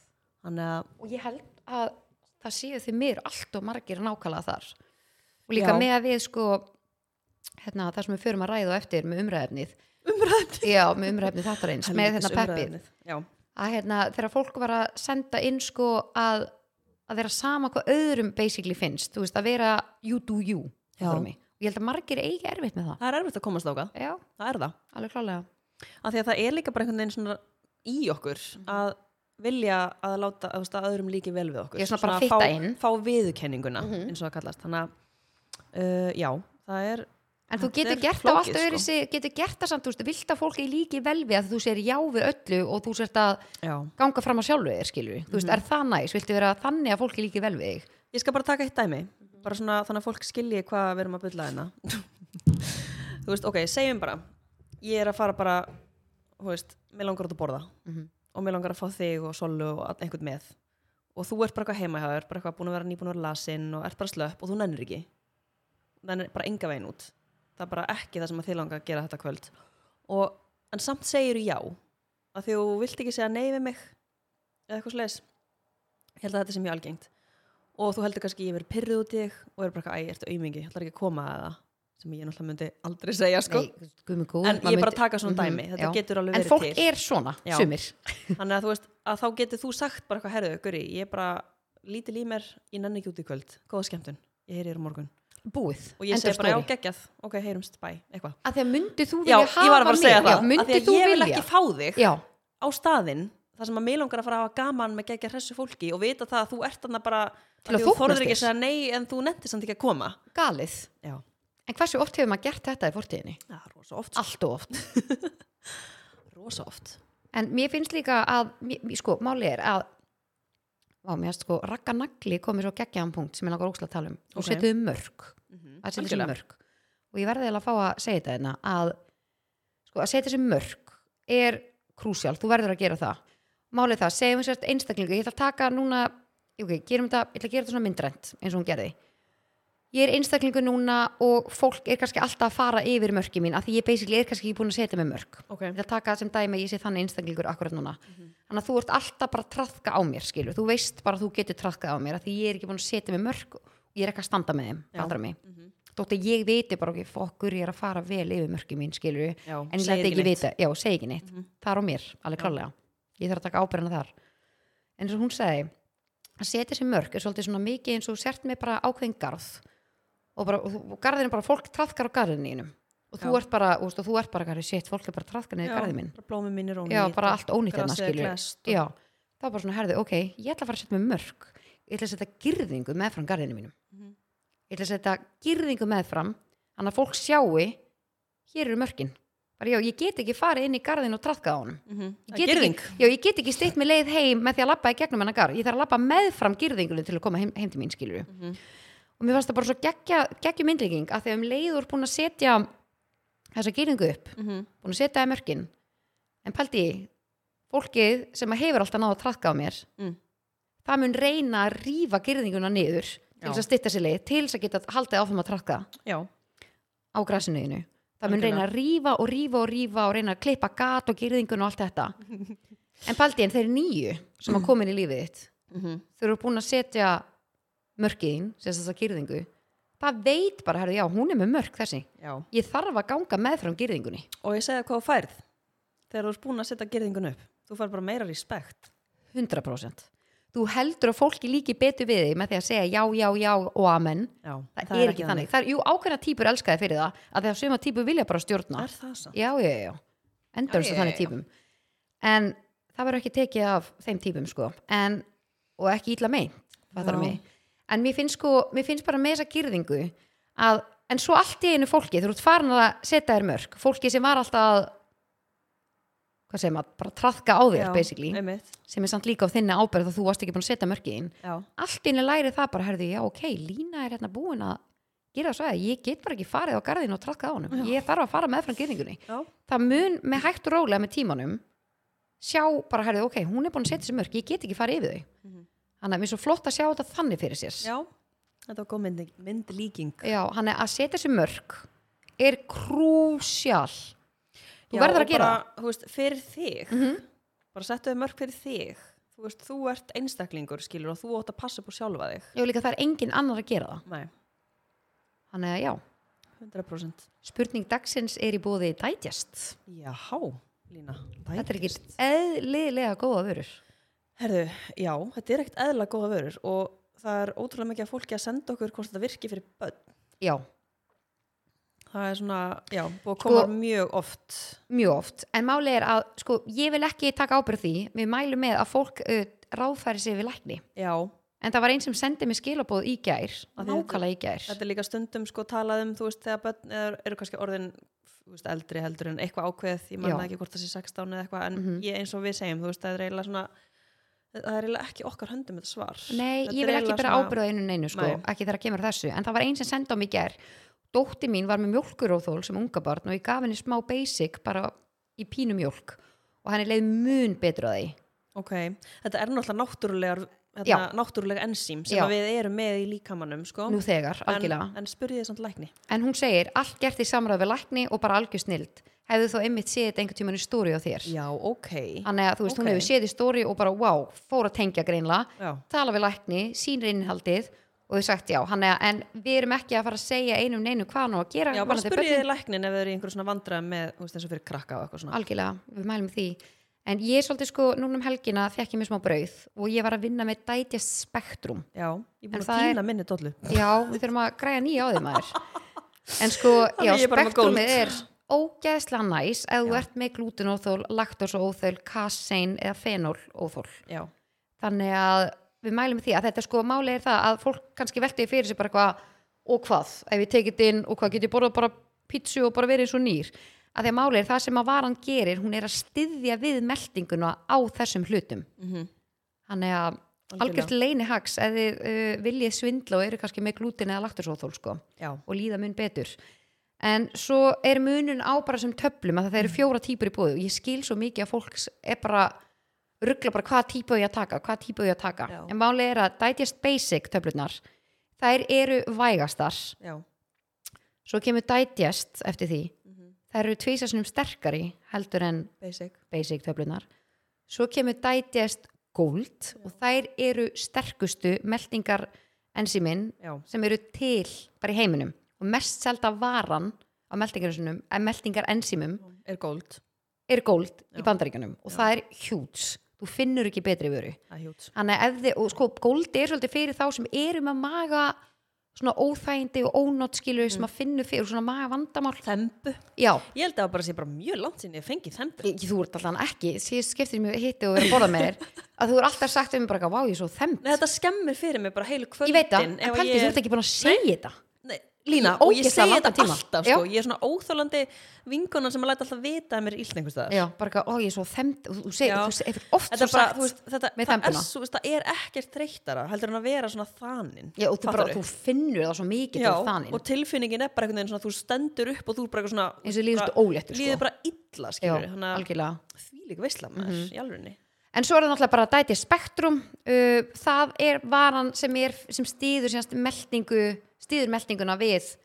S2: Þannig að,
S1: og ég held að það séu því mér allt og margir nákvæmlega þar og líka
S2: Já.
S1: með að við sko hérna, það sem við förum að ræða á eftir með umræðefnið umræðefnið? Já, með umræðefnið þetta reyns, með
S2: Helvítis
S1: hérna peppið
S2: umræðuefnið. Já,
S1: að hérna, þegar fólk var að senda inn sko að, að vera sama hvað öðrum basically finnst, þú veist, að vera you do you,
S2: Já.
S1: fattar mig? og ég held að margir eigi erfitt með það
S2: það er erfitt að komast ákað.
S1: Já,
S2: Það er það.
S1: alveg klálega
S2: Af því að það er líka bara einhvern veginn svona í okkur
S1: Mhm.
S2: að vilja að láta að, að öðrum líki vel við okkur.
S1: Ég er svona bara að
S2: að fá,
S1: fitta inn. Mhm.
S2: fá viðurkenninguna eins og það kallast. Þannig að, uh, já, það er,
S1: En þú
S2: Þetta
S1: getur
S2: er
S1: gert á
S2: flókið,
S1: allt öðru sko. getur gert það samt, þú veist, vilt að fólki líki vel við að þú sér já við öllu og þú sért að
S2: já.
S1: ganga fram á sjálfu þér, skilur Þú
S2: Mhm.
S1: veist, er það næs, viltu vera þannig að fólki líki vel við þig?
S2: Ég skal bara taka eitt dæmi, bara svona þannig að fólk skilji hvað við erum að bylla hérna. þú veist, ok, segjum bara, ég er að fara bara, þú veist, mér langar út að borða
S1: Mhm.
S2: og mér langar að fá þig og Sollu og all- einhvern með og þú ert bara eitthvað heima hjá þér, bara eitthvað búin að vera nýbúin að vera lasin og ert bara slöpp og þú nennir ekki. Nennir bara enga veginn út. Það er bara ekki það sem að þið langar að gera þetta kvöld. Og, en samt segir já, að því þú vilt ekki segja nei við mig eða eitthvað sles. Ég held að þetta sé mjög algengt og þú heldur kannski ég verið pyrruð út í þig og er bara eitthvað, æ, ertu aumingi, ég ætlar ekki að koma að það sem ég náttúrulega myndi aldrei segja sko.
S1: Nei, guð minn góður,
S2: en
S1: maður
S2: ég er bara að
S1: myndi-
S2: taka svona
S1: Mhm,
S2: dæmi þetta
S1: já.
S2: getur alveg
S1: En
S2: verið
S1: fólk
S2: til
S1: er svona,
S2: Já.
S1: sumir
S2: þannig að þú veist, að þá getur þú sagt bara eitthvað, herðu, guri, ég er bara lítil í mér, ég nenni ekki út í kvöld góða skemmtun, ég heyri þér á morgun
S1: Búið,
S2: og ég
S1: End
S2: segi
S1: of
S2: bara, já,
S1: story.
S2: geggjað, ok, heyrumst, bæ eitthvað,
S1: að því að myndi þú
S2: já,
S1: vilja
S2: ég var að fara að segja það
S1: já,
S2: af því
S1: myndi
S2: að
S1: þú
S2: ég vil
S1: vilja
S2: ekki fá þig
S1: já,
S2: á staðinn þar sem að mig langar að fara að hafa gaman með gegja hressu fólki og vita það að þú ert þarna bara
S1: Til að
S2: af því þú
S1: þóknast
S2: þorðir ekki að
S1: þér.
S2: segja nei en þú nefndir samt ekki að koma
S1: galið
S2: já,
S1: en hversu oft hefur maður gert þetta í fortíðinni?
S2: það er rosa oft
S1: allt og oft sko.
S2: rosa oft
S1: en mér finnst líka að, mér- mér- sko, máli er að á, mér finnst sko, rakka nagli komið svo geggjaðan punkt sem ég langar ókslega að tala um og
S2: Ok.
S1: okay. setjuðu mörg
S2: mm
S1: að setja sér mörg og ég verði eiginlega að fá að segja þetta hérna að sko, að setja sér mörg er krúsjál, þú verður að gera það málið það, segjum við sért einstaklingu ég ætla að taka núna, ok, gerum þetta ég ætla að gera þetta svona myndrænt eins og hún gerði ég er einstaklingu núna og fólk er kannski alltaf að fara yfir mörki mín af því ég basically er kannski ekki búin að setja mig mörg
S2: ok,
S1: ég ætla að taka sem dæmi að ég sé þannig einstaklingur akkurat núna þannig að þú ert alltaf bara að trafka á mér skilur, þú veist bara að þú getur trafkað á mér af því ég er ekki búin að setja mig mörg ég er ekki að standa með þeim,
S2: Já.
S1: allra mig þótt að ég viti bara okkur fokkur ég er að fara vel yfir mörki mín skilur
S2: Já,
S1: en ég
S2: segir
S1: læti ekki
S2: ekki neitt. Mhm.
S1: vita, já, segi ekki neitt það er á mér, alveg klálega ég þarf að taka ábyrðina þar en eins og hún sagði að setja sér mörk er svolítið svona mikið eins og þú sért með bara ákveðin garð og, bara, og, þú- og garðin er bara fólk trafkar á garðinu þínum og þú
S2: Já.
S1: ert bara, og, og þú ert bara garði sétt, fólk er bara trafkar niður garðin minn
S2: bara blómi mín er ónýtt
S1: já, bara allt ónýtt hérna
S2: grasið er
S1: skilur
S2: klesst og-
S1: já, það var bara svona herðu, ok, ég ætla að fara að setja með mörk ég ætla að setja girðingu meðfram garðinu mínum
S2: Mhm.
S1: ég ætla að setja girðingu meðfram þannig að fólk sjáu hér eru mörkin bara já, ég get ekki farið inn í garðinu og traðkað á honum
S2: Mhm.
S1: Ég
S2: Það
S1: get
S2: er girðing
S1: ekki, já, ég get ekki steitt með leið heim með því að labba í gegnum hennar garð ég þarf að labba meðfram girðingunni til að koma heim, heim til mín skilur
S2: Mhm.
S1: og mér fannst það bara svo geggja, geggju myndlíking að þegar um leiður búin að setja þessa girðingu upp
S2: Mhm.
S1: búin að setja það í mörkin en pældi ég fólkið sem að hefur alltaf náða að trakka á mér
S2: Mm.
S1: það mun reyna að rífa gyrðinguna niður til
S2: Já.
S1: þess að stytta sér leið til þess að geta haldið áfram að trakka
S2: já,
S1: á grasinuðinu það mun
S2: Algjörlega.
S1: reyna að rífa og rífa og rífa og reyna að klippa gat og gyrðinguna og allt þetta en pældi ég þeir nýju sem að koma inn í lífið þitt
S2: Mhm.
S1: þau eru búin að setja mörkiðin, sem þess að gyrðingu það veit bara, herrðu, já, hún er með mörk þessi
S2: já
S1: ég þarf að ganga meðfram gyrðingunni
S2: og ég segja hvað þú færð þegar þú ert búin að setja girðingun upp þú fær bara meira respekt
S1: 100% þú heldur að fólki líki betur við þig með því að segja já, já, já og amen
S2: já,
S1: það, er ekki þannig, það er, jú, ákveðna típur elskaði fyrir það að þegar suma típur vilja bara stjórna já,
S2: er það sann?
S1: já, já, endur
S2: Já,
S1: þessu
S2: já,
S1: þannig
S2: já, já.
S1: típum en það verður ekki tekið af þeim típum sko, en, og ekki illa meint fattar
S2: Já.
S1: mig en mér finnst sko, mér finnst bara með þessa gyrðingu að, en svo allt í einu fólki þú ert farin að setja þér mörg fólki sem var alltaf að hvað segir maður, bara traðka á þér basically
S2: einmitt.
S1: sem er samt líka á þinni ábyrð að þú varst ekki búin að setja mörkiðin
S2: já,
S1: allt inni læri það bara, herðu, já ok lína er hérna búin að gera svo að ég get bara ekki farið á garðin og traðkað á honum ég þarf að fara meðfram gyrningunni
S2: já,
S1: það mun með hægt og rólega með tímanum sjá bara, herðu, ok, hún er búin að setja sér mörg ég get ekki farið yfir þau þannig að mér er svo flott að sjá þetta þannig fyrir sér
S2: Mhm. Já, þetta var góð mynd, myndlíking
S1: Já, hann er að setja sér mörg er krúsjál þú
S2: Já,
S1: verður
S2: og
S1: að gera Mm-hmm.
S2: bara, Þú veist, fyrir þig bara settu þau mörg fyrir þig þú veist, þú ert einstaklingur skilur og þú átt að passa upp úr sjálfa þig
S1: það Já, líka það er engin annar að gera það
S2: Nei,
S1: þannig að já,
S2: 100%
S1: spurning dagsins er í bóði dætjast
S2: Jáhá, Lína
S1: þetta er
S2: dætist.
S1: ekki eðlilega góða vörur
S2: Herðu, já, þetta er ekkert eðla góða vörur og það er ótrúlega mikið að fólki að senda okkur hvort þetta virki fyrir börn
S1: já,
S2: það er svona, já, búið að
S1: Sko-
S2: koma mjög oft
S1: mjög oft en máli er að, sko, ég vil ekki taka ábyrð því við mælum með að fólk uh, ráðfæri sig við lækni
S2: já,
S1: en það var einn sem sendi mér skilabóð í gær
S2: Af því
S1: nákvæmlega í gær
S2: þetta er líka stundum sko talað um, þú veist, þegar börn er, eru kannski orðin þú veist, eldri heldur en eitthvað ákveð ég
S1: Já.
S2: manna ekki hvort það sé 16 eða eitthvað en
S1: Mhm.
S2: ég, eins og við segjum, þú veist, það er eiginlega svona það er eiginlega ekki okkar höndum þetta svar
S1: Nei, ég
S2: Þetta er
S1: vil ekki
S2: eiginlega
S1: bara
S2: svona-
S1: ábyrða einu neinu sko,
S2: Nei.
S1: ekki þegar að kemur að þessu en það var einn sem sendi á mig í gær dótti mín var með mjólkuróþól sem unga barn og ég gaf henni smá basic bara í pínu mjólk og henni leið mun betur að því
S2: ok, þetta er náttúrulega náttúrulegar
S1: Já.
S2: hérna, náttúrulega ensím sem
S1: Já.
S2: að við erum með í líkamannum sko.
S1: nú þegar,
S2: en,
S1: algjörlega en,
S2: en spurði þið samt lækni
S1: hún segir, allt gert í samræð við lækni og bara algjör snild hefðu þá einmitt séð þetta einhvern tímann í stóri á þér
S2: já, ok
S1: þannig að þú veist, hún
S2: Ok.
S1: hefur séð í stóri og bara wow, fór að tengja greinlega
S2: já,
S1: tala við lækni, sínir innihaldið og þau sagt já, hann er, en við erum ekki að fara að segja einum neinu hvað hann á að gera
S2: já bara
S1: varðandi
S2: spurði
S1: börnin.
S2: þið læknin ef þið eru í einhverjum svona vandræðum með þú veist, þessu fyrir krakka og eitthvað svona
S1: algjörlega, við mælum því en ég er svolítið sko, núna um helgina fekk ég mér smá brauð og ég var að vinna með Digest Spectrum
S2: já, ég
S1: En
S2: er búin að
S1: það er-
S2: pína minni dollu
S1: já, við þurfum að græja nýja á því maður en sko, já,
S2: Þannig ég er bara með
S1: Spectrumið
S2: gold.
S1: er ógeðslega næs ef þú ert með glutenóþól, laktosóþól kasein eða fenólóþól
S2: já,
S1: þannig að við mælum því að þetta sko máli er það að fólk kannski veltiði fyrir sér bara eitthvað og hvað, ef ég tekið inn og hvað get ég borðað bara pítsu og bara verið eins og nýr að því að máli er það sem að varan gerir hún er að styðja við meldinguna á þessum hlutum
S2: mm
S1: þannig að
S2: Algjörlega.
S1: algjört leini hags ef þið uh, viljið svindla og eru kannski með glútin eða laktursóþól sko
S2: já,
S1: og líða mun betur en svo er munun á bara sem töflum að það
S2: Mhm.
S1: eru fjóra típur í búðu og ég skil svo mikið að fólks er bara ruggla bara hvaða típu á ég að taka hvaða típu á ég að taka,
S2: Já.
S1: en máli er að Digest Basic töflunar, þær eru vægastar,
S2: já
S1: svo kemur Digest eftir því,
S2: Mhm.
S1: þær eru tvísasunum sterkari heldur en
S2: basic
S1: Basic töflunar, svo kemur Digest Gold og þær eru sterkustu meldingar ensímin
S2: já,
S1: sem eru til bara í heiminum og mest selda varan á meldingarinsunum, en meldingar enzimum
S2: er gold,
S1: er góld í
S2: Já.
S1: bandaríkjunum og
S2: Já.
S1: það er hjúts þú finnur ekki betri vöru
S2: það er hjút
S1: Þannig að ef þið, og sko góld er svolítið fyrir þá sem eru með maga svona óþægindi og ónótskilu
S2: Mm.
S1: sem að finnur fyrir svona maga vandamál
S2: þembu,
S1: já,
S2: ég held að það bara sé bara mjög langt sinni ég fengi þembu,
S1: ég, þú ert alltaf ekki síðust skiptir mjög hitti og verið að borða með þér að þú er alltaf sagt um bara eitthvað, vá ég er svo þemmt
S2: Nei, þetta skemmir fyrir mig bara heilu kvöldin
S1: ég veit það, en pældi þú ert ekki búin að segja þetta
S2: Nei, Lína,
S1: Í
S2: og ég
S1: ógeðslega
S2: segi
S1: langan
S2: þetta
S1: tíma.
S2: alltaf
S1: Já.
S2: sko. ég er svona óþólandi vingunan sem að læta alltaf vita að mér er illt einhvers staðar
S1: já, bara eitthvað, ó ég er svo þemmt og þú segir,
S2: Já.
S1: þú segir oft svo
S2: þetta, er bara,
S1: sagt
S2: þú veist, þetta
S1: með
S2: það, er,
S1: þembuna.
S2: svo, veist, það er ekkert þreyttara heldur en að vera svona þanin
S1: Já, og þú, bara, þú finnur það svo mikið
S2: Já,
S1: til þaninn,
S2: og tilfinningin er bara einhvern veginn svona þú stendur upp og þú er bara eitthvað svona
S1: eins og líður
S2: bara-
S1: þetta óléttur
S2: líður
S1: sko.
S2: bara illa
S1: Já,
S2: skilur þannig
S1: algjörlega Mhm.
S2: að því líka veistla maður í alvegni
S1: En svo er það náttúrulega bara dæti spektrum uh, það er varan sem, er, sem stýður sérst meldingu stýður meldinguna við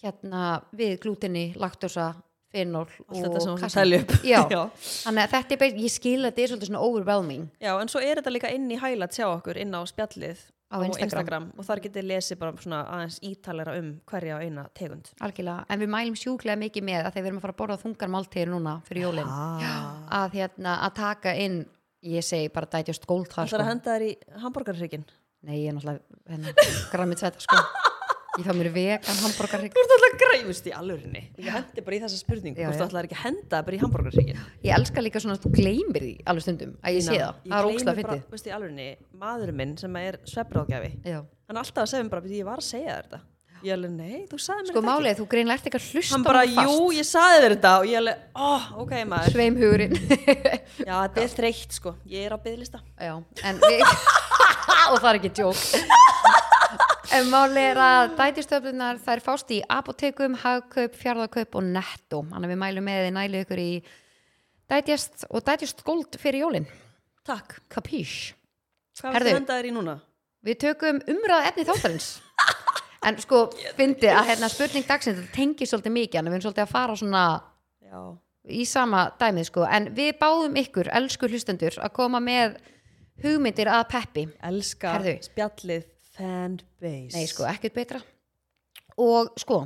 S1: hérna, við glútinni, laktosa fenol
S2: allt þetta sem
S1: og
S2: hún
S1: kasein.
S2: tæli upp
S1: Já,
S2: já.
S1: þannig að þetta er bara, ég skil að þetta er svolítið svona overwhelming
S2: Já, en svo er þetta líka inn í hælat sjá okkur inn á spjallið
S1: á Instagram,
S2: og þar getið lesið bara svona aðeins ítalera um hverja og eina tegund
S1: algjörlega, en við mælum sjúklega mikið með að þegar við erum að fara að borða þungar máltíðir núna fyrir jólin,
S2: ah.
S1: að hérna að taka inn, ég segi bara dætjast góld
S2: Það er að henda þær í hambúrgarhrygin Þú
S1: sko. Nei, ég er náttúrulega hérna, grammið þetta sko Ég fæ mér vegan hambúrgarrygg
S2: ert alltaf græfust í alvörinni Ég hendi bara í þessa spurningu
S1: Já,
S2: Þú ert
S1: já.
S2: alltaf ekki að henda þær bara í hambúrgarhrygin
S1: Ég elska líka svona að þú gleymir því alveg stundum að ég sé það, það er ógslag fyndið
S2: Þú veist í alvörinni, maður minn sem er svefbráðgjafi
S1: Já.
S2: Hann er alltaf að segja mér bara, ég var að segja þér þetta Ég alveg, nei, þú sagði mér
S1: Sko
S2: þetta
S1: málið, er, þú greinlega ert ekki að
S2: ekki
S1: hlusta
S2: Hann bara,
S1: honum fast.
S2: jú, ég sagði þér þetta Og ég alveg, oh, ok maður
S1: Sveimhugurinn
S2: Já, þetta er þreytt sko, ég er á byðlista
S1: Já, en við og það er ekki djók En málið er að dætistöflunar þær fást í apotekum, hagkaup, fjárðakaup og netto, þannig að við mælum með þið nælu ykkur í Digest og Digest Gold fyrir jólin
S2: Takk.
S1: Capiche
S2: Hvað
S1: Herðu.
S2: er það hendaðir í núna?
S1: Við tökum umræða efni þáttarins En sko, fyndi að hérna spurning dagsins þetta tengir svolítið mikið, en við erum svolítið að fara svona
S2: Já.
S1: í sama dæmið sko, en við báðum ykkur, elsku hlustendur, að koma með hugmyndir að peppi
S2: Elska
S1: Herðu.
S2: spjallið fanbase.
S1: Nei, sko, ekkert betra. Og sko,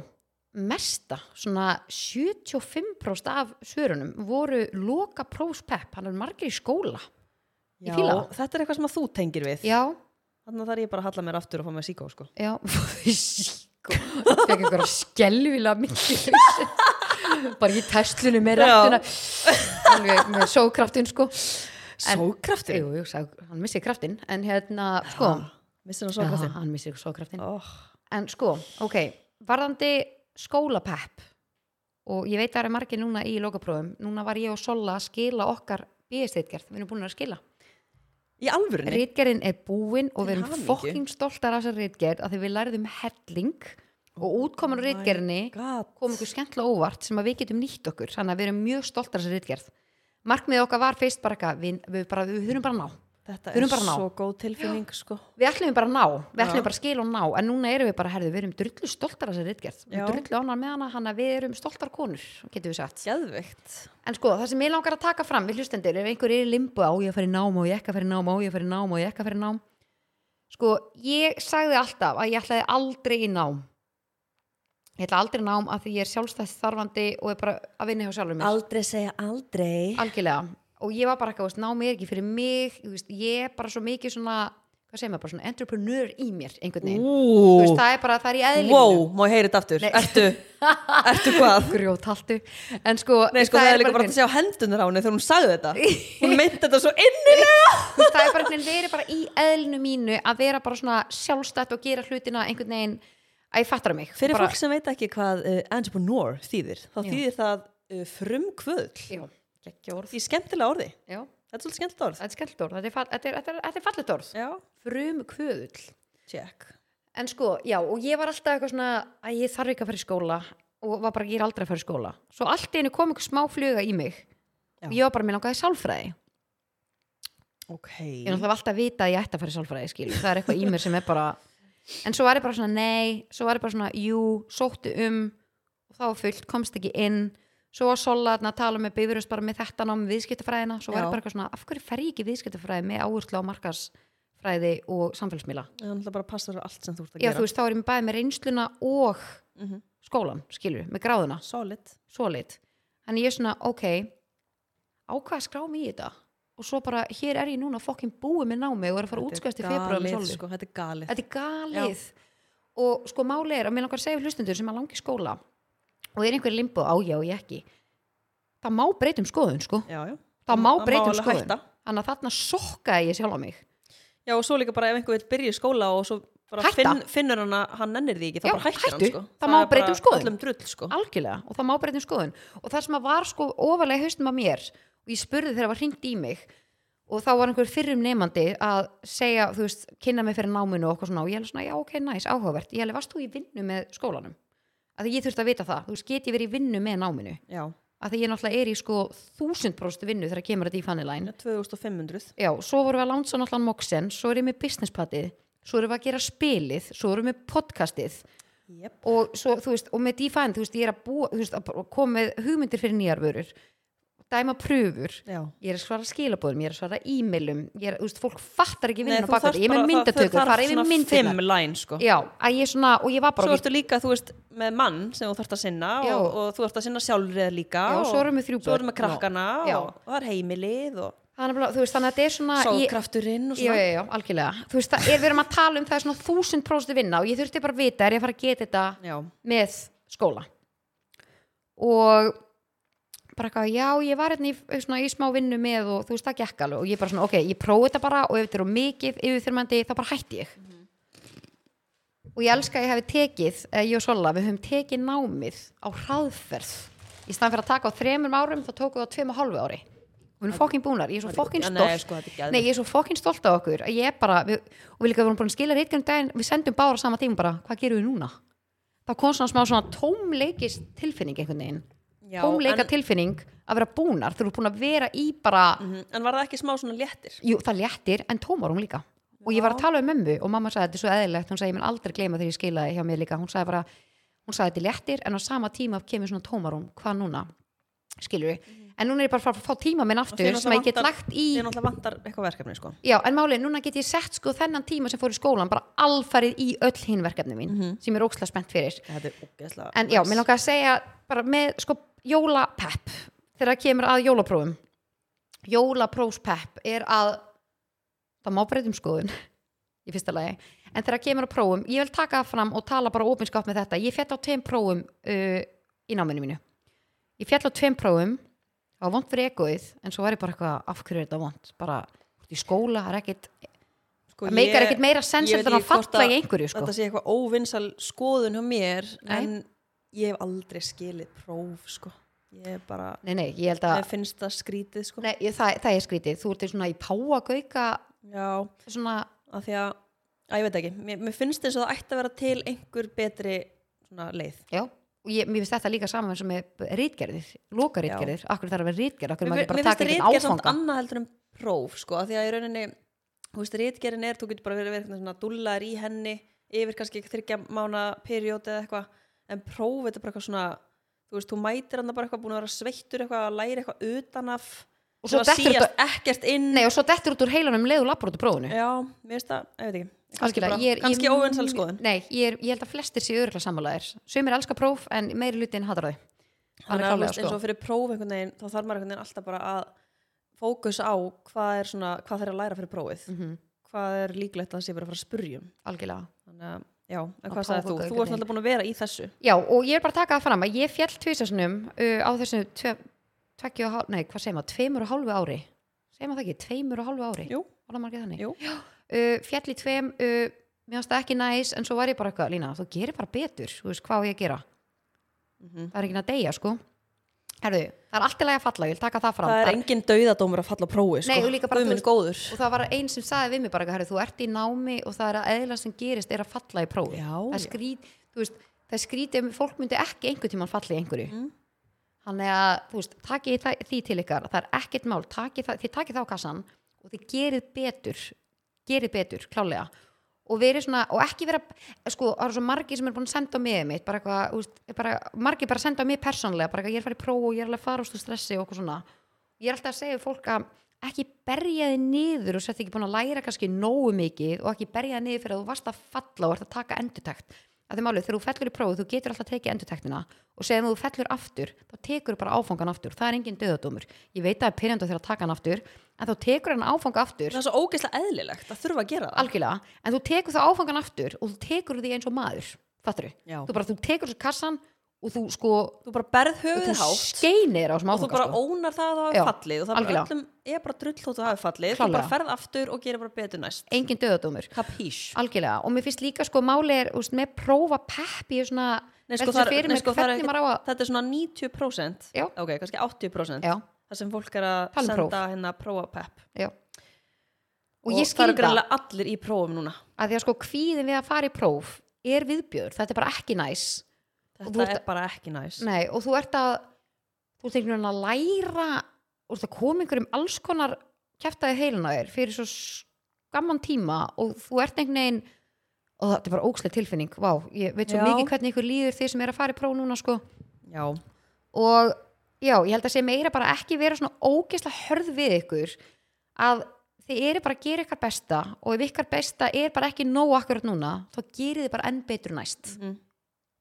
S1: mesta, svona 75% af svörunum voru loka próspepp, hann er margir í skóla.
S2: Já,
S1: ég fíla það.
S2: þetta er eitthvað sem að þú tengir við.
S1: Já,
S2: Þannig að það er ég bara að halla mér aftur og fá mér síkó, sko.
S1: já, sko, það fekk einhverja skelvilega mikið hausin. Bara í testlunum með
S2: Já.
S1: rættuna, alveg með sókraftun, sko. En-
S2: Sókraftur?
S1: Jú, jú, sá, hann missi kraftin, en hérna, sko,
S2: Missir hann
S1: já,
S2: sókraftur?
S1: hann missi sókraftin.
S2: Oh.
S1: En sko, ok, varðandi skólapepp og ég veit að það eru margir núna í lokaprófum núna var ég og Sola að skila okkar bíðisteitgerð, við erum búin að skila
S2: Í alvörunni?
S1: Ritgerðin er búin og við
S2: Til
S1: erum
S2: hamingju.
S1: fokking stoltar af þessar ritgerð að því við lærðum helling og útkoman á
S2: Oh my
S1: ritgerðinni
S2: God.
S1: kom ykkur skemmtilega óvart sem að við getum nýtt okkur þannig að við erum mjög stoltar af þessar ritgerð Markmið okkar var fyrst bara eitthvað við, við, bara, við þurfum bara að ná
S2: Þetta
S1: Við
S2: er
S1: erum bara að ná.
S2: svo góð tilfinning, sko.
S1: við ætlum bara að ná, við
S2: Já.
S1: ætlum bara að skil og ná en núna erum við bara, herðu, við erum drullu stoltar að þessi ritgerð, við erum
S2: Já.
S1: drullu ánar með hana hann að við erum stoltar konur, getum við sagt
S2: Gæðveikt.
S1: en sko, það sem ég langar að taka fram við hlustendur, ef einhver er í limbu á ég að fara í nám og ég ekki að fara í nám, á ég að fara í nám og ég ekki að fara í nám sko, ég sagði alltaf að ég ætlaði aldrei í nám ég ætla aldrei í nám að því ég er sjálfstætt þarfandi og er bara að vinna hjá sjálfur mér
S2: Aldrei segja aldrei.
S1: algjörlega og ég var bara eitthvað, veist, námi er ekki fyrir mig þú veist, ég er bara svo mikið svona hvað segir maður, bara svona entrepreneur í mér einhvern veginn, þú veist,
S2: Ú,
S1: það er bara það er í eðlinu
S2: wow, má ég heyra þetta aftur?
S1: Nei.
S2: Ertu, ertu hvað?
S1: grjóthaltu, en sko
S2: Nei, sko, það, er líka bara
S1: einhvern-
S2: að sjá hendunar á henni þegar hún sagði þetta. Hún meinti þetta svo innilega.
S1: þú veist, það er bara einhvern veginn verið bara í eðlinu mínu að vera bara svona sjálfstætt og gera hlutina einhvern veginn að ég fattar mig
S2: Fyrir
S1: bara,
S2: fólk sem veit ekki hvað uh, entrepreneur þýðir, þá
S1: Já.
S2: þýðir það uh, frumkvöðl.
S1: já, geggja orð
S2: Því skemmtilega orði.
S1: já,
S2: Þetta er svolítið skemmtilega orð.
S1: þetta er skellt orð, þetta er, fall- þetta er, þetta er, þetta er fallet orð
S2: Já,
S1: frum kvöðull
S2: check.
S1: En sko, já, og ég var alltaf eitthvað svona að ég þarf ekki að fara í skóla og var bara, ég er aldrei að fara í skóla. Svo allt í einu kom einhver smá fluga í mig
S2: Já.
S1: og ég var bara mér langaði í sálfræði.
S2: Ok.
S1: Ég er alltaf að vita að ég ætti að fara í sálfræði, skilur. Það er eitthvað í mér sem er bara, en svo var ég bara svona nei, svo var ég bara svona jú, sóttu um og þá var fullt, komst ekki inn. Svo var Sola þarna að tala með bifurust bara með þetta nám viðskiptafræðina. Svo var
S2: Já.
S1: ég bara eitthvað svona, af hverju fer ég ekki í viðskiptafræði með áherslu á markarsfræði og samfélagsmiðla?
S2: Það er náttúrulega bara að passa þér á allt sem þú ert að
S1: Já,
S2: gera.
S1: þú veist, þá er ég með bæði með reynsluna og
S2: Mhm.
S1: skólan, skilur, með gráðuna,
S2: Solid.
S1: svo lit. Þannig ég er svona, ok, á hvað skrá mig í þetta? Og svo bara, hér er ég núna fokkin búið með námi og er að fara
S2: Þetta er
S1: útskjöðast í februar með
S2: galið,
S1: sólu.
S2: Sko, þetta er galið.
S1: Þetta er galið. Og sko máli er að mér langar að segja við hlustendur sem að langi í skóla og er einhver limbo á já og ég ekki. Það má breytum skoðun, sko.
S2: Já,
S1: Það
S2: já.
S1: má
S2: Það má um
S1: breytum
S2: alveg
S1: skoðun.
S2: hætta.
S1: Þannig að þarna sokkaði ég sjálf á mig.
S2: Já, og svo líka bara ef einhver veit byrja í skóla og svo bara
S1: Hætta.
S2: finn, finnur hann að hann nennir því ekki, þá
S1: Já,
S2: bara hættir hann,
S1: hættu.
S2: sko.
S1: Það má
S2: er
S1: breyta um
S2: bara
S1: skoðun.
S2: Öllum drull, sko.
S1: algjörlega og það má breytum skoðun og það sem að var sko ofalega í haustum að mér og ég spurði þegar það var hringt í mig og þá var einhver fyrrum nefandi að segja, þú veist, kynna mig fyrir náminu og okkur svona og ég hefði svona, já ok, næs, áhugavert ég hefði, varst þú í vinnu með skólanum að því ég þurfti að vita það, þú veist, get ég verið í vinnu með náminu
S2: Já,
S1: að því ég náttúrulega er í sko þúsund próst vinnu þegar kemur þetta í fannilæn
S2: 2500.
S1: já, svo vorum við að lánsa náttúrulega moksen svo erum við businesspatið, svo erum við að gera spilið svo erum við podcastið
S2: Jep.
S1: og svo, þú veist, og með DeFi þú veist, ég er að búa, þú veist, að bara koma með hugmyndir fyrir nýjar vörur, dæma pröfur
S2: Já.
S1: ég er að svara skilabóðum, ég er að svara e-mailum, ég er, þú veist, fólk fattar ekki
S2: Nei,
S1: vinnun á
S2: þú
S1: bakvæði,
S2: þarft
S1: ég er með
S2: bara- það-
S1: myndatökur,
S2: það þarf
S1: fara yfir
S2: svona
S1: myndirnar
S2: Fimm line, sko.
S1: já, að ég er svona, og ég var bara
S2: Svo ertu líka, þú veist, með mann sem þú þarft að sinna
S1: Já.
S2: og, og þú ert að sinna sjálfrið líka
S1: Já,
S2: og
S1: svo erum við þrjú
S2: Svo erum
S1: börn
S2: við krakkana
S1: og- Já.
S2: og, og það er heimilið og
S1: þannig að, þú veist, þannig að þetta er svona ég,
S2: sókrafturinn og
S1: já,
S2: svona
S1: já, já, algjörlega, þú veist, það er við erum að tala um það er svona þúsund próstu vinna og ég þurfti bara að vita, er ég að fara að geta þetta
S2: Já,
S1: með skóla og bara eitthvað, já, ég var hérna í, svona, í smá vinnu með og þú veist, það gekk alveg og ég bara svona, ok, ég prófi þetta bara og ef þetta eru mikið yfirþyrmandi, þá bara hætti ég og ég elska að ég hefði tekið, eh, ég og Sola, við höfum tekið námið á hraðferð í staðan fyrir að taka á þremur árum þá tókum við á tveim og hálfu ári og við erum fokkin búnar, ég er svo fokkin
S2: Já,
S1: stolt
S2: nei, sko, þetta er geðveikt.
S1: Nei, ég er svo fokkin stolt af okkur að ég er bara, við, og við líka vorum búin að skila reitgjörnum daginn, við sendum bára sama tíma bara, hvað gerum við núna? Það kom svona smá svona tómleikist tilfinning einhvern veginn
S2: Já,
S1: tómleika
S2: en-
S1: tilfinning að vera búnar þú eru búin að vera í bara
S2: Mhm. en var það ekki smá svona léttir
S1: jú, það léttir en tómarum líka og ég var að
S2: Já.
S1: tala um mömmu og mamma sagði þetta er svo eðlilegt hún sagði ég mun aldrei gleyma þegar ég skilaði hjá mér líka hún sagði bara, hún sagði þetta er léttir en á sama tíma kemur svona tómarum, hvað núna skilur en núna er ég bara að fara að fá tíma minn
S2: Mhm. Og þig
S1: aftur sem að ég get
S2: náttúrulega
S1: lagt í
S2: ég náttúrulega vantar eitthvað verkefni sko
S1: Já, en málið, er, núna get ég sett sko þennan tíma sem fór í skólan bara alfarið í öll hinn verkefni mín
S2: Mhm.
S1: sem ég er ókslega spennt fyrir
S2: þetta er ógeðslega
S1: en já,
S2: næs.
S1: mér langar að segja bara með sko jólapepp þegar það kemur að jólaprófum jólaprófspepp er að það má breytum skoðun í fyrsta lagi, en þegar það kemur að prófum ég vil taka það fram og tala bara ópinskap með þetta ég fjall á tveim prófum uh, í náminu mínu ég fjall á tveim prófum það var vond fyrir egoið en svo var ég bara eitthvað af hverju er þetta vond bara þú ert í skóla, það er ekkit
S2: sko,
S1: það meikar
S2: ég-
S1: ekkit meira sens en
S2: ég veit
S1: það
S2: ekki hvort
S1: falla
S2: að-
S1: í einhverju sko.
S2: þetta sé eitthvað óvinnsal skoðun hjá mér
S1: Nei.
S2: en ég hef aldrei skilið próf sko. ég er bara,
S1: nei, nei, ég held að
S2: mér finnst það skrítið sko.
S1: Nei, ég, það, það er skrítið, þú ert í svona í páagauka
S2: já,
S1: svona,
S2: af því að, að ég veit ekki, mér, mér finnst eins og það ætti að vera til einhver betri svona, leið
S1: já og ég, mér finnst þetta líka saman sem er rítgerðir lokarítgerðir, akkur þarf að vera rítgerð akkur
S2: mér,
S1: maður
S2: mér
S1: ekki bara
S2: finnst
S1: taka
S2: það
S1: eitthvað
S2: reitgerð samt
S1: áfanga
S2: annað heldur en próf sko, af því að í rauninni þú veist, reitgerðin er, þú getur bara verið, verið svona dullar í henni yfir kannski þryggja mána periódi eða eitthvað en próf, þetta er bara eitthvað svona þú veist, þú mætir hann bara eitthvað búin að vera sveittur eitthvað að læra eitthvað utan af
S1: Og svo
S2: sem að
S1: dettur
S2: síast ekkert inn
S1: Nei, og svo dettur út úr heilanum leiðu labbrótu prófinu
S2: já, mér finnst það, ég veit ekki kannski,
S1: Algjörlega,
S2: bara-
S1: ég er- ég-
S2: kannski óvensal skoðun
S1: Nei, ég, er, ég held að flestir séu örgulega sammálaðir Sumir elska próf, en meiri lutin hatar þau Það er
S2: þannig að
S1: klálega
S2: veist, eins
S1: sko
S2: og fyrir próf einhvern veginn þá þarf maður einhvern veginn alltaf bara að fókus á hvað er svona, hvað þeir að læra fyrir prófið
S1: mm
S2: hvað er líklegt að það sé bara að fara að spurjum
S1: Algjörlega
S2: þannig að, já, en
S1: Að
S2: hvað sagði
S1: prófa
S2: þú?
S1: eitthvað
S2: Þú
S1: einhvern
S2: ert alltaf búin að vera í þessu
S1: Já, og ég er bara að taka það fram að ég fjall tvisasunum uh, á þessu tve, tveggju og hálf, nei, hvað segir maður, tveimur og hálfu ári segir maður það ekki, tveimur og hálfu ári
S2: Jú.
S1: var það margir þannig
S2: Jú.
S1: uh, fjall í tveim, uh, mér fannst það ekki næs en svo var ég bara eitthvað, Lína, þú gerir bara betur þú veist hvað á ég að gera
S2: Mhm.
S1: það er ekki að deyja, sko Herðu, það er allt í lagi að falla, ég vil taka það fram
S2: það er
S1: Það-
S2: engin dauðadómur að falla á prófi sko.
S1: Nei, og líka bara,
S2: Guð
S1: þú
S2: minn
S1: veist-
S2: góður
S1: og það var einn sem sagði við mig bara, herru, þú ert í námi og það er að eðla sem gerist er að falla í prófi
S2: Já,
S1: það, er
S2: já.
S1: skrít, þú veist, það er skrítið ef fólk myndi ekki einhvern tímann falla í einhverju
S2: Mm.
S1: þannig að þú veist, takið það, því til ykkar það er ekkert mál, takið það, þið takið það á kassan og þið gerið betur gerið betur, klálega og, verið svona, og ekki vera sko, það eru svo margir sem er búin að senda á mig mitt, bara eitthvað, þú veist, bara, margir bara senda á mig persónlega, bara eitthvað, ég er farið próf og ég er alveg að fara úr stu stressi og okkur svona ég er alltaf að segja við fólk að ekki berja þið niður og sett ekki búin að læra kannski nógu mikið og ekki berja þið niður fyrir að þú varst að falla og ert að taka endurtekt að þeim alveg, þegar þú fellur í prófið, þú getur alltaf að tekið endurtektina og segja þú fellur aftur þá tekur þú bara áfangan aftur, það er engin döðadómur ég veit að það er pyrjandu þegar að taka hann aftur en þá tekur hann áfanga aftur
S2: það er svo ógeðslega eðlilegt að þurfa að gera það
S1: algjörlega, en þú tekur það áfangan aftur og þú tekur því eins og maður fattur
S2: Já.
S1: þú bara, þú tekur þessu kassan og þú sko,
S2: þú bara berð
S1: þú
S2: höfuð hátt
S1: skeinir á þessum
S2: og þú
S1: áfanga
S2: bara
S1: sko.
S2: ónar það að það
S1: Já,
S2: hafi fallið og það er bara
S1: algjörlega.
S2: öllum er bara drull þótt að hafi fallið þú
S1: Klárlega.
S2: bara ferð aftur og gerir bara betur næst
S1: engin döðadómur,
S2: kapís
S1: algjörlega og mér finnst líka sko, máli er, úst, með prófa pepp ég er svona,
S2: Nei, sko,
S1: velti sér
S2: það er-
S1: fyrir
S2: nei,
S1: mér
S2: sko, það er
S1: hvernig
S2: ekkert-
S1: maður á að
S2: þetta er svona 90%
S1: Já.
S2: ok, kannski 80%
S1: já,
S2: það sem fólk er að
S1: Tala um
S2: senda
S1: próf.
S2: hérna prófa pepp
S1: já og ég
S2: það
S1: skil
S2: eru
S1: það
S2: greinlega allir í prófum núna
S1: að því að sko kvíðin við að fara í próf er viðbjör, þetta er bara ekki næs Og þú
S2: þetta
S1: ert-
S2: er bara ekki næs
S1: Nei, og þú ert að þú ert einhvern veginn að læra og það kom einhverjum alls konar kæftaði heilina þér fyrir svo skamman tíma og þú ert einhvern veginn og þetta er bara ógslega tilfinning Vá, ég veit svo
S2: Já.
S1: mikið hvernig ykkur líður þeir sem er að fara í próf núna sko
S2: já,
S1: og já, ég held að sé meira bara ekki vera svona ógeðslega hörð við ykkur að þið eru bara að gera ykkar besta og ef ykkar besta er bara ekki nóg akkurat núna þá gerir þið bara enn betur næst
S2: Mhm.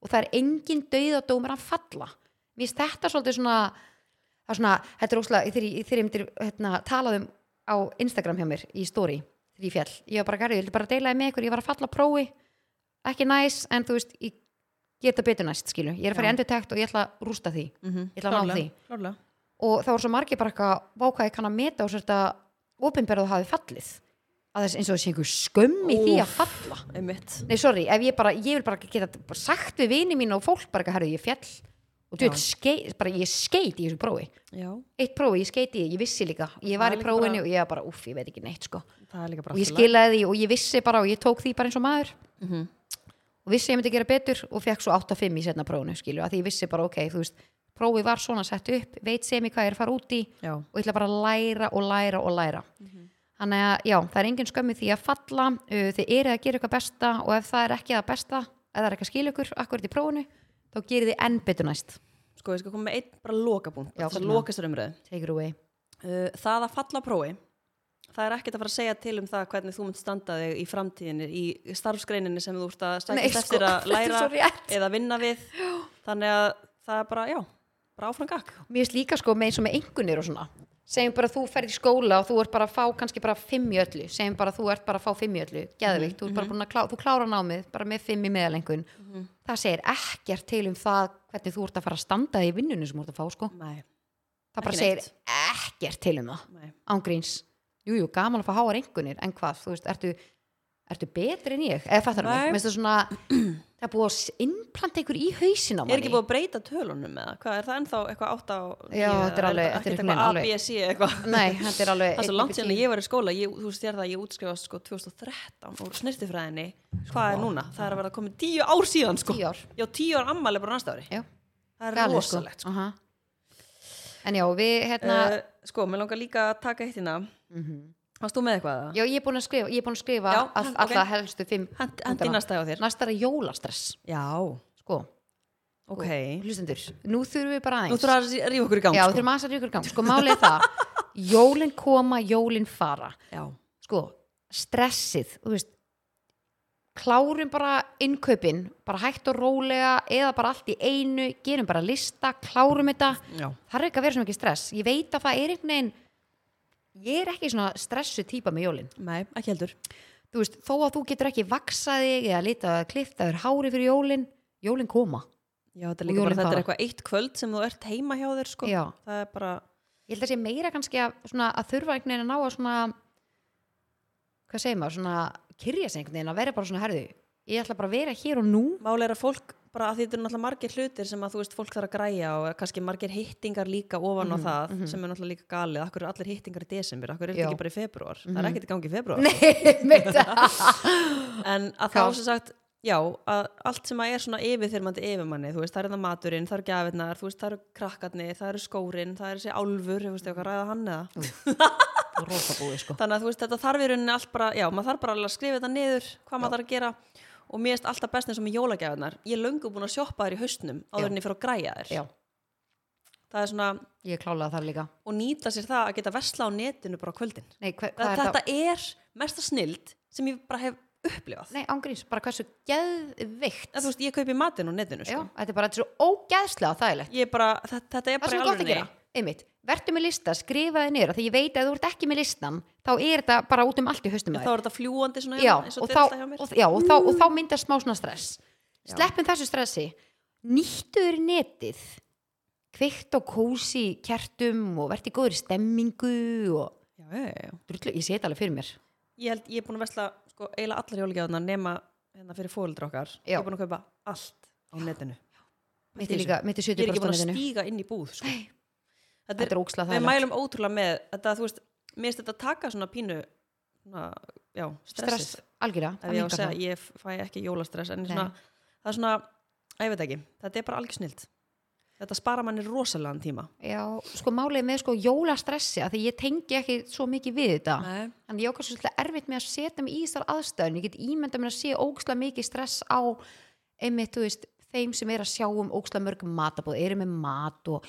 S1: og það er engin dauðadómur að falla mér finnst þetta svolítið svona það er svona, þetta er óslega þegar ég- þegar ég myndir hérna, talaðum á Instagram hjá mér í story þegar ég fjall, ég var bara garðið, ég vildi bara deilaði með ykkur ég var að falla á prófi, ekki næs en þú veist, ég geta betur næst skilu, ég er að fara í
S2: Já.
S1: endur og ég ætla að rústa því
S2: mm -hmm.
S1: Ég ætla að ná því. og það voru svo margir bara eitthvað vákaði kann að meta og svo þetta opinberðu hafi fallið að þess eins og þessi einhver skömm í því að
S2: Úff.
S1: falla
S2: einmitt
S1: nei sorry, ef ég bara, ég vil bara geta bara sagt við vini mín og fólk bara eitthvað, herru ég fjall og
S2: Já.
S1: þú veit, skei- bara ég skeit í þessu prófi
S2: já,
S1: eitt prófi, ég skeit í, ég vissi líka ég
S2: Það
S1: var
S2: er
S1: í
S2: líka
S1: prófinu
S2: bara-
S1: og ég var bara, uff, ég veit ekki neitt sko
S2: það er líka bara
S1: og ég
S2: allt í lagi.
S1: skilaði því og ég vissi bara og ég tók því bara eins og maður
S2: Mhm.
S1: og vissi að ég myndi gera betur og fekk svo 8-5 í setna prófunu skilu, að því ég vissi bara, ok, þú veist prófið var svona sett upp, veit sem í hvað ég er að fara út í
S2: já,
S1: og ég ætla bara að læra og læra og læra
S2: Mhm.
S1: þannig að já, það er engin skömmi því að falla uh, þið eru að gera eitthvað besta og ef það er ekki það besta, ef það er ekki að skilja ykkur akkurat í prófinu, þá gerir þið enn betur næst
S2: sko ég skal koma með einn bara lokapunkt
S1: Já,
S2: þess að
S1: komdu með
S2: loka sér umröðu
S1: take it away
S2: uh, það að falla á prófi það er ekkert að fara að segja til um það hvernig þú munt standa þig í framtíðinni í starfsgreininni sem þú ert að
S1: Nei,
S2: stækist
S1: sko,
S2: eftir að
S1: þetta er
S2: læra
S1: svo rétt.
S2: eða vinna við þannig að það er bara, já, bara áfram gakk
S1: mér finnst líka sko með eins og með engunir og svona segjum bara að þú ferð í skóla og þú ert bara að fá kannski bara fimm í öllu segjum bara að þú ert bara að fá fimm í öllu
S2: Mhm,
S1: geðvikt, þú ert bara búin að klá, þú klára námið bara með fimm í meðalengun
S2: Mhm.
S1: það segir ekkert til um það hvernig þú ert að fara að standa í vinnunum sem þú ert að fá sko.
S2: nei,
S1: það bara
S2: Ekki
S1: segir
S2: neitt.
S1: ekkert til um það
S2: nei,
S1: ángríns, jújú, jú, gaman að fá háar engunir en hvað, þú veist, ertu ertu betri en ég, eða fattar
S2: Nei.
S1: mig Mér finnst það svona, það er búið að innplanta ykkur í hausin á manni
S2: er ekki búið að breyta tölunum með það, hvað er það ennþá eitthvað átt á
S1: Já, þetta er alveg- þetta er
S2: ekkert
S1: einhvern
S2: eitthvað A,
S1: veginn
S2: B, C eitthvað
S1: Nei, þetta er alveg
S2: það er svo
S1: einn upp
S2: langt
S1: í
S2: síðan að
S1: tíu.
S2: ég var í skóla ég, þú veist þér það, ég útskrifast sko 2013 úr snirtifræðinni, hvað er núna það er að vera komið tíu ár síðan sko
S1: Sko, Tíu ár.
S2: já, tíu ár ammali bara á næsta ári
S1: Já,
S2: það er
S1: galið sko,
S2: rosalegt sko.
S1: Aha. En já, við hérna Mhm.
S2: Uh, sko, mér langar líka að taka eitt hérna Varst þú með eitthvað að það?
S1: Já, ég er búin að skrifa, ég er búin að skrifa
S2: Já,
S1: all,
S2: ok.
S1: alla helstu fimm
S2: Hendi- hendi
S1: punktana.
S2: næsta hjá þér.
S1: Næsta er jólastress,
S2: Já,
S1: sko,
S2: ok
S1: hlustendur Nú þurfum við bara
S2: Nú
S1: aðeins
S2: þurfum að rífa okkur í gang
S1: Já,
S2: sko.
S1: þurfum aðeins að ríkur gang, sko, málið er það Jólin koma, jólin fara
S2: Já,
S1: sko, stressið þú veist klárum bara innkaupin bara hægt og rólega eða bara allt í einu gerum bara lista, klárum þetta
S2: já
S1: það er ekki að vera svona ekki stress ég veit að það er einhvern veginn ég er ekki svona stressu típa með jólin
S2: Nei, ekki heldur
S1: þú veist, þó að þú getur ekki vaksað þig eða litað að klifta þér hári fyrir jólin jólin koma
S2: Já, þetta
S1: Og
S2: er líka bara,
S1: jólin
S2: þetta er
S1: fara.
S2: eitthvað eitt kvöld sem þú ert heima hjá þér sko
S1: Já.
S2: Það er bara,
S1: ég held að sé meira kannski að, svona, að þurfa einhvern veginn að ná að svona hvað segir maður, svona kyrja sig einhvern veginn að vera bara svona herðu ég ætla bara að vera hér og nú
S2: máli er að fólk bara að því þetta er náttúrulega margir hlutir sem að þú veist fólk þarf að græja og kannski margir hittingar líka ofan
S1: Mhm,
S2: á það sem er náttúrulega líka galið, akkur eru allir hittingar í desember, akkur eru þetta
S1: Já. Mhm.
S2: ekki bara í februar það er ekkert í gangi í februar
S1: Nei, mitt
S2: en að
S1: Kál.
S2: þá sem sagt já, að allt sem að er svona yfirþyrmandi yfirmanni, þú veist, það er það maturinn, það eru gafirnar þú veist, það eru krakkarnir, það eru skórin það eru þessi álfur, þú veist, eitthvað ræða hann eða
S1: Rósabúi sko
S2: þannig að þú veist, þetta þarf í rauninni allt bara, já, maður þarf bara alveg að skrifa þetta niður, hvað maður þarf að gera og mér erst alltaf best eins og með jólagjafinar ég er löngu búin að sjoppa þær í haustnum áður
S1: Já.
S2: en ég fyrir að græja þær,
S1: Já,
S2: það er svona
S1: ég klálaði það líka
S2: og nýta sér það að geta vesla á netinu bara á kvöldin,
S1: Nei, hver, hvað
S2: þetta,
S1: er þetta?
S2: er mesta snild sem ég bara hef upplifað,
S1: Nei, ángríns, bara hversu geðvikt
S2: en þú veist, ég kaupi matinn á netinu,
S1: Já,
S2: sko.
S1: þetta er bara þetta er svo ógeðslega þægilegt
S2: ég er bara, þetta, þetta er
S1: Það
S2: bara
S1: sem er
S2: í
S1: gott að
S2: alvörunni.
S1: gera, einmitt Vertu með lista, skrifaði niður af Því ég veit að ef þú ert ekki með listan Þá er þetta bara út um allt í haustum á
S2: þá
S1: þér.
S2: er þetta fljúandi svona
S1: Já,
S2: eins og
S1: og þá,
S2: delta hjá mér
S1: og, já, og, þá, og þá myndast smá svona stress Sleppum þessu stressi Nýttuður netið Kveikt og kósi kertum Og vertu góður í stemmingu og,
S2: já, já, já, já.
S1: drullu, Ég sé þetta alveg fyrir mér
S2: ég held, ég er búin að vesla sko, eiginlega allar jólagjáðunar nema hérna fyrir fóreldra okkar
S1: Já.
S2: ég er búin að kaupa allt á netinu
S1: Mitt er líka, mitt er
S2: ég
S1: 70%
S2: er ekki búin að
S1: netinu.
S2: stíga inn í búð sko.
S1: Nei. Þetta er ógislega
S2: við
S1: þægilegt.
S2: mælum ótrúlega með þetta, þú veist, mér finnst þetta taka svona pínu svona, já, stressið
S1: stress algjörlega
S2: ef
S1: það
S2: ég á að
S1: minnkar
S2: segja,
S1: það.
S2: ég f- fæ ekki jólastress en
S1: Nei.
S2: svona, það er svona, að ég veit ekki þetta er bara algjör snild þetta spara manni rosalega tíma
S1: Já, sko málið með sko jólastressi að því ég tengi ekki svo mikið við þetta
S2: Nei.
S1: en ég ákvæmst svolítið erfitt með að setja mig í þessar aðstæðun ég get ímynda mér að sé ógislega mikið stress á einmitt, þú veist, þeim sem er að sjá um ógislega mörg matabóð, eru með mat og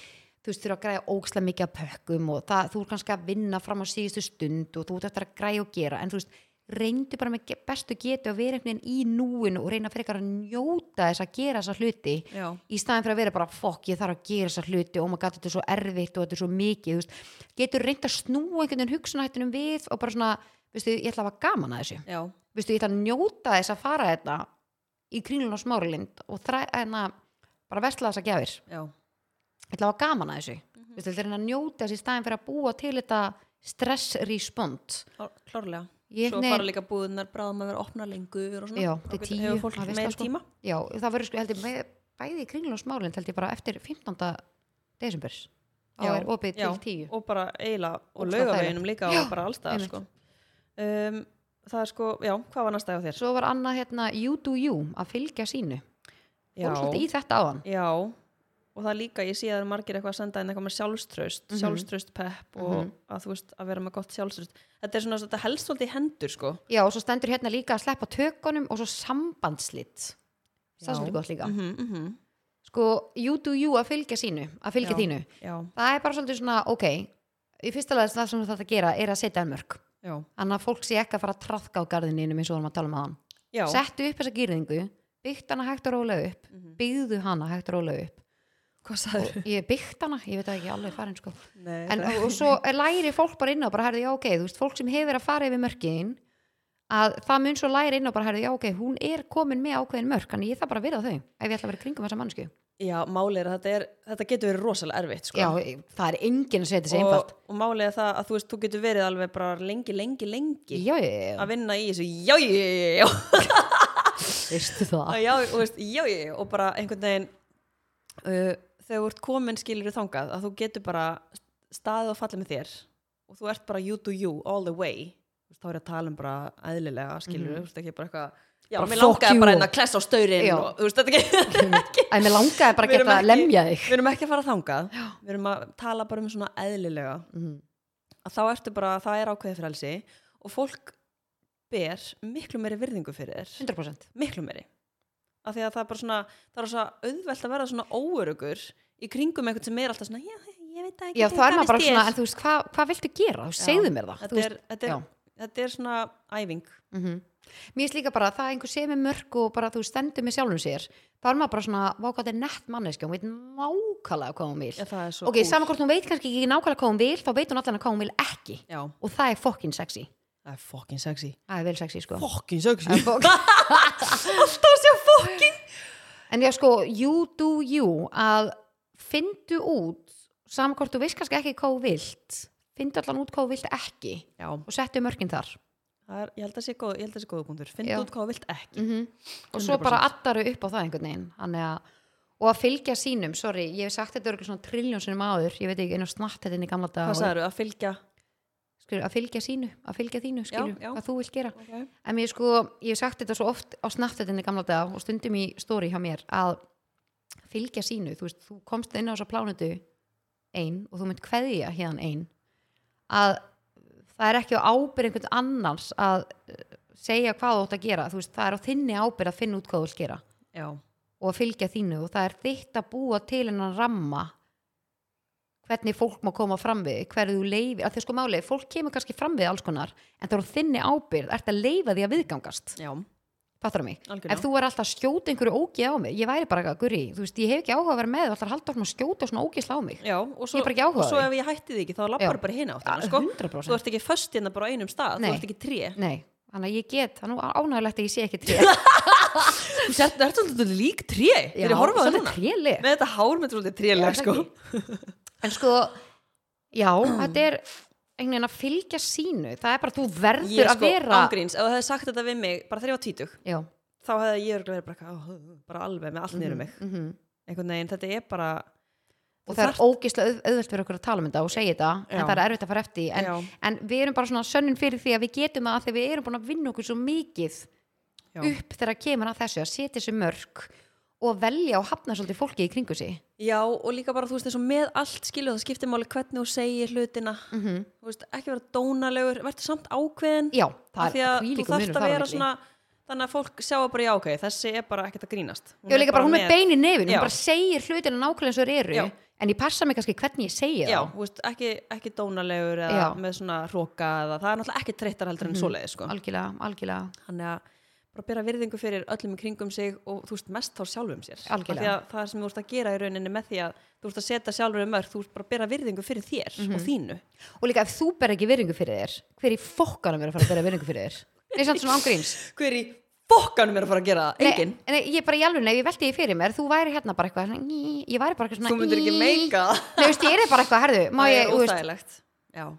S1: þú veist, þurfa að græja ógislega mikið að pökkum og það, þú er kannski að vinna fram á síðustu stund og þú ert eftir að græja og gera en þú veist, reyndu bara með ge- bestu getu að vera einhvern veginn í núinu og reyna frekar að njóta þess að gera þessa hluti
S2: já,
S1: í staðin fyrir að vera bara fokk, ég þarf að gera þessa hluti oh my god, þetta er svo erfitt og þetta er svo mikið þú veist, getur reynd að snúa einhvern veginn hugsunahættunum við og bara svona, veistu, ég ætla að hafa gaman að þessu
S2: já,
S1: veistu, ég ætla að njóta þess að fara þetta í kringlun og smáralind og þræ, enna, bara vesla þess að gjafir
S2: já
S1: ég ætla að hafa gaman að þessu mm
S2: Mhm.
S1: -hmm. veistu, ég ætla að reyna að njóta þess í staðin fyrir að búa til þetta stress respond
S2: Klár- klárlega
S1: Ég-
S2: svo
S1: nei.
S2: fara líka búðunar bráðum að vera opna lengur og svona
S1: Já,
S2: Þá
S1: til
S2: getur-
S1: 10,
S2: hefur fólk
S1: það veist
S2: meiri
S1: það sko.
S2: tíma
S1: já, það verður sko, ég held ég með, bæði í kringlun og smáralind held ég bara eftir 15. desember þá er opið
S2: já,
S1: til 10
S2: og bara eiginlega og
S1: Ógeðslega
S2: laugaveginum líka
S1: Já,
S2: og bara allstaðar
S1: einmitt.
S2: sko. um, það er sko, já, hvað var næsta hjá þér?
S1: Svo var annað hérna You Do You að fylgja sínu
S2: já,
S1: og svolítið í þetta áðan
S2: já og það er líka, ég sé að það eru margir eitthvað að senda inn eitthvað með sjálfströst,
S1: Mhm.
S2: sjálfströst pepp og
S1: Mhm.
S2: að þú veist, að vera með gott sjálfströst þetta er svona, þetta helst svolítið í hendur sko
S1: já, og svo stendur hérna líka að sleppa tökunum og svo sambandslitt það
S2: Já.
S1: er svolítið gott líka
S2: mm -hmm.
S1: sko, you do you að fylgja sínu að fylgja
S2: Já.
S1: þínu,
S2: já,
S1: það er bara svolítið svona ok, í fyrsta lega það sem þú þarf að gera er að setja en mörg
S2: já,
S1: þannig að fólk sé ekki að fara að trafka á garðininu eins og við vorum að tala um aðan
S2: já
S1: settu upp þessa gýrðingu, byggt hana hægt og rólega upp
S2: Mhm.
S1: byggðu hana hægt og rólega upp
S2: hvað sagður?
S1: ég byggt hana, ég veit það ekki alveg farin sko
S2: Nei,
S1: en,
S2: það-
S1: og, og svo er læri fólk bara inn á bara herði, já, ok, þú veist, fólk sem hefur verið að fara yfir mörkin að það mun svo læri inn á bara herði, já, ok, hún er komin með ákveðin mörk þannig ég þarf bara að virða þau ef ég ætla að vera í kringum þessa mannsku
S2: já, málið er að þetta, er, þetta getur verið rosalega erfitt sko
S1: já, það er enginn að segja þessi
S2: og,
S1: einfalt
S2: og málið er það að þú veist, þú getur verið alveg bara lengi, lengi, lengi
S1: já, já, já,
S2: að vinna í þessu, já, já, já, já
S1: veistu það
S2: Að já, og veist, já, já, já, og bara einhvern veginn uh, þegar þú ert komin skilur þangað að þú getur bara staðið og fallið með þér og þú ert bara you do you all the way Þú veist, þá er ég að tala um bara eðlilega skilur,
S1: Mhm.
S2: þú veist ekki bara eitthvað já,
S1: Bara
S2: mér
S1: fuck you.
S2: langaði bara einn að klessa á staurinn
S1: Já.
S2: og, þú veist, þetta er ekki,
S1: að mér langaði bara að
S2: Við erum
S1: geta
S2: ekki-
S1: að lemja þig
S2: við erum ekki að fara þangað við erum að tala bara um svona eðlilega
S1: Mhm.
S2: að þá ertu bara, það er ákveðið frelsi og fólk ber miklu meiri virðingu fyrir þér
S1: 100%
S2: miklu meiri af því að það er bara svona, það er svona auðvelt að vera svona óörugur í kringum einhvern sem er alltaf svona, já, ég veit það ekki
S1: já,
S2: hvað
S1: þá er maður
S2: finnst
S1: bara
S2: þér?"
S1: svona, en þú veist, hvað hva viltu gera
S2: Já.
S1: segðu mér það, þú
S2: þetta
S1: veist,
S2: er, þetta,
S1: já.
S2: er, þetta er svona æfing
S1: mm mér finnst líka bara að það að einhver sé með mörg og bara þú stendur með sjálfum sér þá er maður bara svona, vá hvað þetta er nett manneski hún veit nákvæmlega hvað hún vil
S2: já, það er svo
S1: ok, saman hvort hún veit kannski ekki nákvæmlega hvað hún vil þá veit hún allan að hvað hún vil ekki
S2: já,
S1: og það er fokkin sexy,
S2: það er fucking sexy
S1: það er vel sexy sko
S2: fucking sexy
S1: En fokk-
S2: alltaf að segja fucking
S1: en já sko, you do you að fyndu út saman hvort þú veist kannski ekki hvað þú vilt fyndu allan út hvað þú vilt ekki
S2: já,
S1: og settu mörkin þar
S2: það er, ég held að sé góð, ég held að sé góða punktur finn
S1: Já.
S2: út hvað þú vilt ekki
S1: mm og svo
S2: 100%.
S1: bara attaru upp á það einhvern veginn Þannig að, og að fylgja sínum, sorry ég hef sagt þetta örgulega svona triljónsunum áður ég veit ekki, einu snatt þetta inn í gamla dag
S2: hvað sagður, að fylgja
S1: skilur, að fylgja sínu, að fylgja þínu skilur,
S2: já.
S1: hvað þú vilt gera
S2: okay.
S1: en mér sko, ég hef sagt þetta svo oft á snartetinni gamla dag og stundum í stóri hjá mér að fylgja sínu, þú veist, þú komst inn á þessa plánutu ein og þú mynd kveðja hérna ein að það er ekki á ábyrð einhvern annars að eh, segja hvað þú átt að gera, þú veist, það er á þinni ábyrð að finna út hvað þú vilt gera
S2: já,
S1: og að fylgja þínu og það er þitt að búa til hennan ramma hvernig fólk má koma fram við hverju þú leifir, að því sko máli fólk kemur kannski fram við alls konar en það eru þinni ábyrð, ert að leifa því að viðgangast
S2: já,
S1: fattur mig,
S2: algjörlega
S1: ef þú er alltaf að skjóta einhverju ógi á mig, ég væri bara eitthvað, guri þú veist, ég hef ekki áhuga að vera með, þú ætlar að halda áfram að skjóta svona ógisla á mig,
S2: já, og
S1: ég
S2: svo,
S1: er bara ekki
S2: og
S1: áhuga á
S2: svo
S1: því.
S2: ef ég hætti þig ekki þá
S1: Já.
S2: lappar bara hina átt
S1: Að-
S2: sko. þú
S1: 100%
S2: ert ekki föst hérna bara á einum stað
S1: Nei.
S2: þú ert ekki tré
S1: nei, þannig að ég get, þannig að ánægulegt að ég sé ekki tré,
S2: þú ert er svolítið lík tré þegar ég horfa á það
S1: svolítið
S2: núna
S1: tréleg.
S2: með þetta hár með svolítið
S1: Já,
S2: tréleg
S1: það
S2: sko.
S1: en sko já, þetta er einhvern veginn að fylgja sínu það er bara, þú verður
S2: ég
S1: að
S2: sko
S1: vera
S2: ángríns, ef þú hefði sagt þetta við mig bara þegar ég var títug
S1: já,
S2: þá hefði ég örugglega verið bara, eitthvað, "Ah, bara alveg með allt niður um mig
S1: mhm.
S2: einhvern veginn, þetta er bara
S1: og
S2: Þú
S1: það er ógislega auð, auðvelt fyrir okkur að tala um þetta og segja þetta, en
S2: Já.
S1: það er erfitt að fara eftir en,
S2: Já.
S1: en við erum bara svona sönnun fyrir því að við getum það af því að við erum búin að vinna okkur svo mikið
S2: Já.
S1: upp þegar kemur að þessu að setja þessu mörg og velja og hafna svolítið fólki í kringu sig
S2: já, og líka bara, þú veist, eins og með allt skilur það skiptir máli hvernig þú segir hlutina
S1: -hmm.
S2: þú veist, ekki vera dónalegur, verður samt ákveðin
S1: já,
S2: af
S1: það
S2: því
S1: er
S2: að þú
S1: hvílíku
S2: þarft
S1: munur
S2: að
S1: þar á
S2: vera
S1: milli.
S2: svona þannig að fólk sjá bara já ok þessi er bara ekkert að grínast hún
S1: Já, líka bara hún með bein í nefin,
S2: Já.
S1: hún bara segir hlutina nákvæmlega eins og þeir eru,
S2: Já.
S1: en ég passa mig kannski hvernig ég segi
S2: já,
S1: það.
S2: þú veist, ekki, ekki dónalegur eða
S1: Já. Mhm.
S2: með svona hróka eða það er náttúrulega ekki treyttar heldur en mm sko.
S1: Algjörlega, algjörlega.
S2: þannig að bara bera virðingu fyrir öllum í kringum sig og þú veist mest þá sjálfum sér
S1: Algjörlega.
S2: Af því að það sem þú ert að gera í rauninni með því að þú ert að setja sjálfur um mörg þú ert bara að bera virðingu fyrir þér
S1: Mhm.
S2: og þínu
S1: Og líka ef þú ber ekki virðingu fyrir þér, hver í fokkanum er að fara að bera virðingu fyrir þér? Nei, samt svona ángríns.
S2: hver í fokkanum er að fara að gera það? enginn
S1: Nei, nei, ég bara í alveg, ef ég velti því fyrir mér, þú væri hérna bara eitthvað, svona, í, ég væri bara eitthvað svona
S2: þú myndir ekki
S1: í.
S2: meika það.
S1: Nei, þú veist, ég er bara eitthvað, herðu, má
S2: það
S1: ég,
S2: er
S1: þú veist,
S2: óþægilegt já
S1: þú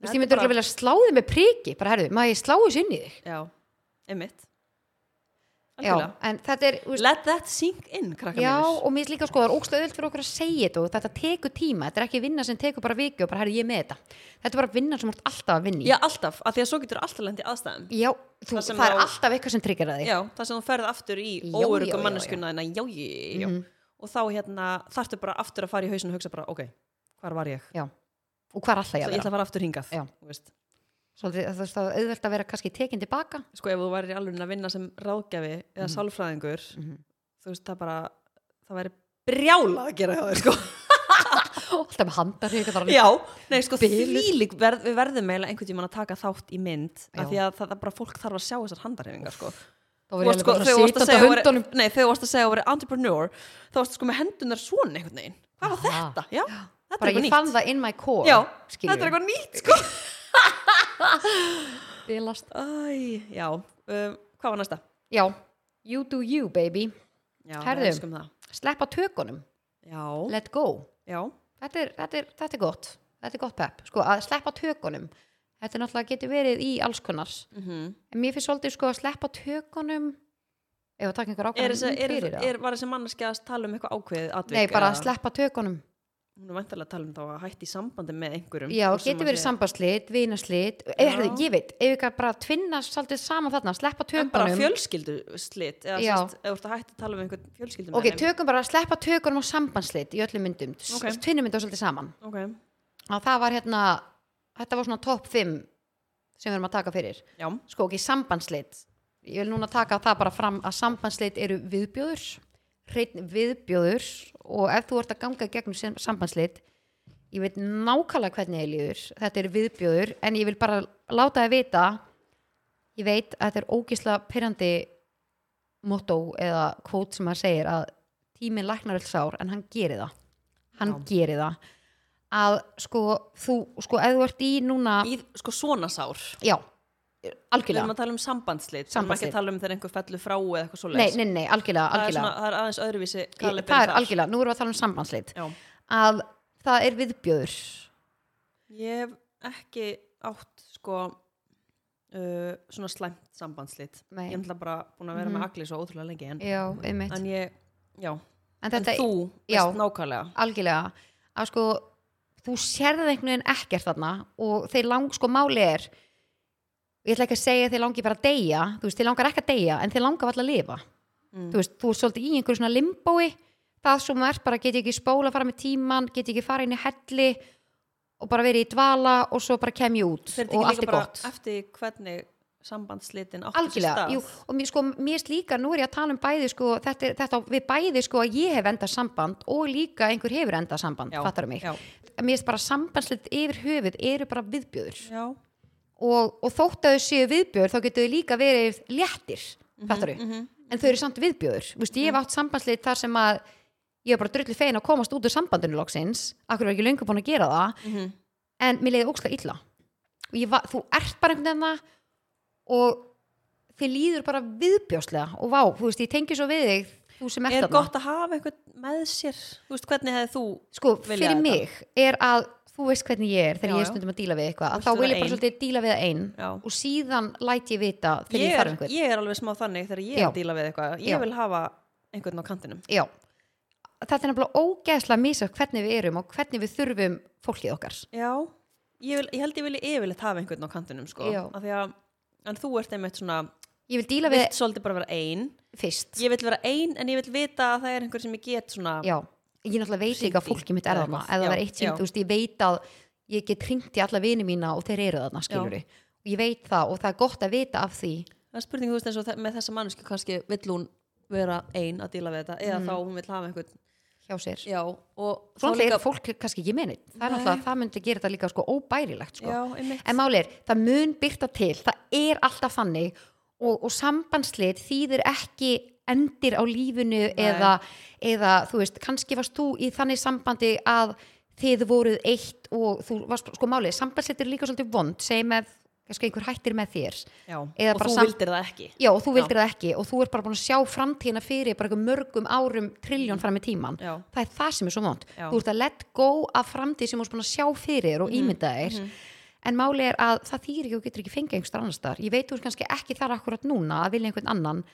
S1: veist, ég myndi bara... vilja slá þig með priki, bara herðu, má ég slá þessu inn í þig?
S2: Já, einmitt
S1: Já,
S2: Algjörlega.
S1: en þetta er, þú veist,
S2: Let that sink in, krakkar
S1: Já,
S2: mínir
S1: og mér finnst líka sko, það er ógstlega öðvöld fyrir okkur að segja þetta og þetta tekur tíma, þetta er ekki vinna sem tekur bara viku og bara herri ég er með þetta. Þetta er bara vinna sem þú ert alltaf að vinna í.
S2: Já, alltaf, af því að svo getur alltaf lent í aðstæðum
S1: Já, þú,
S2: Það
S1: það,
S2: sem
S1: er
S2: á-
S1: alltaf eitthvað sem tryggir að þig.
S2: Já, það sem þú ferð aftur í
S1: Já, Mhm. já, já,
S2: óörugum
S1: já.
S2: manneskuna þina Já, já, já, já. og þá hérna þarftu bara aftur að fara í hausinu og hugsa bara, ok, hvar var ég?
S1: já og hvað er alltaf ég að
S2: Svo ég
S1: vera
S2: ætla að fara aftur hingað
S1: Já.
S2: þú veist.
S1: Svolítið, þú veist, það er auðvelt að vera kannski tekin tilbaka
S2: Sko ef þú værir í alveg að vinna sem ráðgjafi eða
S1: Mhm.
S2: sálfræðingur
S1: Mhm.
S2: þú veist, það bara, það væri brjálað að gera hjá þér, sko
S1: alltaf með handarhyggar
S2: Já, nei, sko,
S1: Biluð.
S2: þvílík verð, við verðum eiginlega einhvern tímann að taka þátt í mynd
S1: Já.
S2: af því að það, það bara fólk þarf að sjá þessar handarhefingar, sko
S1: þá
S2: Þú
S1: verður
S2: varst
S1: ég
S2: sko,
S1: bara
S2: þegar þú
S1: að
S2: varst að
S1: setja
S2: segja að
S1: hundunum
S2: vera- nei, þegar þú varst að segja að vera entrepreneur þá varst sko með hendunar svona einhvern veginn hvað var
S1: Aha.
S2: þetta? Já, þetta er
S1: bara ég
S2: eitthvað
S1: fann
S2: nýtt
S1: það in my core
S2: Já,
S1: skilur
S2: þetta er eitthvað nýtt sko
S1: bilast
S2: Æ, já, um, hvað var næsta?
S1: já, you do you baby
S2: Já,
S1: Herðu.
S2: við elskum það
S1: sleppa tökunum,
S2: Já,
S1: let go
S2: já,
S1: þetta er, þetta er, þetta er gott þetta er gott pep, sko, að sleppa tökunum þetta er náttúrulega getur verið í alls kunnars
S2: mhm
S1: en mér finnst svolítið sko að sleppa tökunum ef að taka einhver
S2: Er
S1: ákvæmum
S2: þessi, er,
S1: fyrir það
S2: er, var þessi manneskja að tala um eitthvað ákveðið atvik?
S1: nei, bara
S2: eða-
S1: að sleppa tökunum
S2: Hún er vantarlega að tala um þá að hætti sambandi með einhverjum.
S1: já,
S2: hvort sem
S1: getur
S2: hann
S1: verið
S2: um sé-
S1: sambandslít, vinaslít
S2: Já.
S1: er, ég veit, ef við bara tvinna svolítið saman þarna, sleppa
S2: En bara
S1: tökunum
S2: fjölskylduslit, eða
S1: Já.
S2: sérst, ef þú ert að hætti að tala um einhvern fjölskyldum.
S1: ok, tökum bara að sleppa tökunum og sambandslít í öllum myndum,
S2: Ok.
S1: okay. tvinnum mynda svolítið saman
S2: Ok,
S1: og það var hérna þetta var svona topp 5 sem við erum að taka fyrir
S2: já,
S1: sko ekki sambandslit ég vil núna taka það bara fram að sambandslit eru viðbjóður hreitn viðbjóður og ef þú ert að ganga í gegnum sem- sambandslit ég veit nákvæmlega hvernig ég líður þetta er viðbjóður en ég vil bara láta það vita ég veit að þetta er ógisla pyrrandi motto eða kvót sem að segir að tíminn læknar öll sár en hann gerir það hann
S2: Já.
S1: gerir það að sko þú sko ef þú ert í núna
S2: í sko svona sár.
S1: já,
S2: Við
S1: algjörlega
S2: erum að tala um sambandslit, við erum ekki
S1: Sambandslit.
S2: að tala um þegar einhver fellur frá eða eitthvað svo
S1: Nei, nei, nei, algjörlega,
S2: Það er,
S1: algjörlega.
S2: svona, það er aðeins öðruvísi
S1: Ég-
S2: kalibri
S1: það er
S2: þar.
S1: algjörlega, nú erum við að tala um sambandslit
S2: Já.
S1: að það er viðbjöður
S2: Ég hef ekki átt sko uh, svona slæmt sambandslit.
S1: Nei.
S2: Ég er náttúrulega bara búin að vera með agli svo ótrúlega lengi en,
S1: já, einmitt en,
S2: en ég, já, en
S1: þetta
S2: þú
S1: já.
S2: veist nákvæmlega.
S1: algjörlega að sko, þú sérðið einhvern veginn ekkert þarna og þeir lang, sko, máli er ég ætla ekki að segja að þeir langi bara að deyja þú veist, þeir langar ekki að deyja en þeir langar alltaf að lifa
S2: Mm.
S1: þú veist, þú er svolítið í einhverju svona limbói það sem þú ert bara, get ég ekki spóla fara með tíman, get ég ekki fara inn í helli og bara verið í dvala og svo bara kem ég út
S2: Fer þetta
S1: og
S2: ekki
S1: allt
S2: líka
S1: er
S2: bara
S1: gott
S2: eftir því hvernig sambandslitin áttu sér
S1: algjörlega,
S2: stað?
S1: jú, og mér, sko, mér erst líka nú er ég að tala um bæði sko, þetta, er- þetta á við bæði sko að ég hef endað samband og líka einhver hefur endað samband,
S2: Já,
S1: fattar mig
S2: já.
S1: mér erst bara sambandslit yfir höfuð eru bara viðbjöður
S2: Já,
S1: og, og þótt að þau séu viðbjöður þá getur þau líka verið léttir
S2: Mhm,
S1: fattar þau, en þau eru samt viðbjöður Vist, ég hef átt sambandslit þar sem að ég er bara drullu fein að komast út úr sambandinu loksins, akkur er ekki löngu búin að gera það
S2: Mhm.
S1: en mér leiði ókslega illa og ég, va- þú ert bara einhvern veginn það og þið líður bara viðbjóslega og vá, þú veist, ég tengi svo við þig þú sem ert
S2: er
S1: þarna.
S2: gott að hafa einhvern með sér þú veist hvernig hefði þú
S1: sko,
S2: vilja
S1: fyrir
S2: þetta?
S1: mig er að þú veist hvernig ég er þegar
S2: Já,
S1: ég er
S2: já.
S1: stundum að díla við eitthvað
S2: Þú
S1: að þá vil
S2: ert
S1: ég bara
S2: vera ein.
S1: svolítið díla við það ein
S2: Já.
S1: og síðan læt ég vita þegar ég,
S2: ég er,
S1: þarf einhvern
S2: ég er alveg smá þannig þegar ég
S1: Já.
S2: er að díla við eitthvað ég
S1: Já.
S2: vil hafa einhvern á kantinum
S1: Já. þetta er nefnilega ógeðslega misa hvernig við erum og hvernig við þurfum fólkið okkar
S2: já, ég, vil, ég held ég vilja yfirleitt hafa einhvern á kantinum sko.
S1: Já.
S2: Af því að, en þú ert einmitt svona
S1: ég vil díla við
S2: vilt svolítið bara vera ein
S1: fyrst
S2: ég vil vera ein en ég vil vita að það er einhver sem ég get svona
S1: já, ég náttúrulega veit líka að
S2: Hringt í
S1: fólkið mitt er
S2: eða
S1: þarna
S2: eitthvað.
S1: eða það
S2: Já,
S1: er eitt sem,
S2: já.
S1: þú veist, ég veit að ég get hringt í alla vini mína og þeir eru þarna, skilur við og ég veit það og það er gott að vita af því
S2: það er spurning þú veist eins og þe- með þessa mannsku kannski vill hún vera ein að díla við þetta
S1: Mhm.
S2: eða þá hún vill hafa einhvern
S1: hjá sér
S2: já, og
S1: svo
S2: þá
S1: náttúrulega er fólk kannski ekki menið það er
S2: Nei.
S1: náttúrulega, það myndi gera þetta líka sko óbærilegt sko.
S2: já, einmitt
S1: en máli er, það mun byrta til það er alltaf þannig og, og sambandslit þýðir ekki endir á lífinu eða, eða þú veist, kannski varst þú í þannig sambandi að þið voruð eitt og þú varst, sko máli er, sambandslit er líka svolítið vond, segjum ef kannski einhver hættir með þér
S2: já.
S1: eða
S2: og
S1: bara
S2: þú
S1: sam-
S2: vildir það ekki
S1: já og þú vildir það ekki og þú er bara búin að sjá framtíðina fyrir bara einhver mörgum árum trilljón fram í tíman
S2: Já.
S1: það er það sem er svo vond
S2: Já. Mhm,
S1: þú ert að let go af framtíð sem þú ert búin að sjá fyrir þér og ímynda þér en máli er að það þýr ekki og getur ekki fengið einhver annars staðar ég veit þú er kannski ekki þar akkurat núna að vilja einhvern annan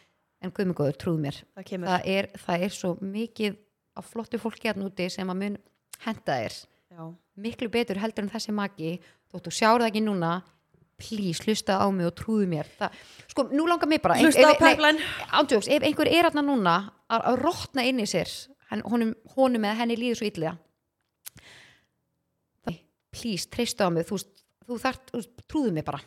S1: en guðmengóður trúð mér
S2: það kemur
S1: það er, það er svo mikið af flottu fólki að núti sem að mun henda þér
S2: já.
S1: miklu betur heldur en þessi maki þótt þú sjáur það ekki núna please, hlusta á mig og trúðu mér það, sko, nú langar mig bara
S2: Hlusta á
S1: nei,
S2: Pipeline.
S1: ándjóks, ef einhver er aðna núna að, að rotna inn í sér hann, honum, honum eða henni líður svo illiða please, treystu á mig þú, veist, þú þart, þú veist, trúðu mig bara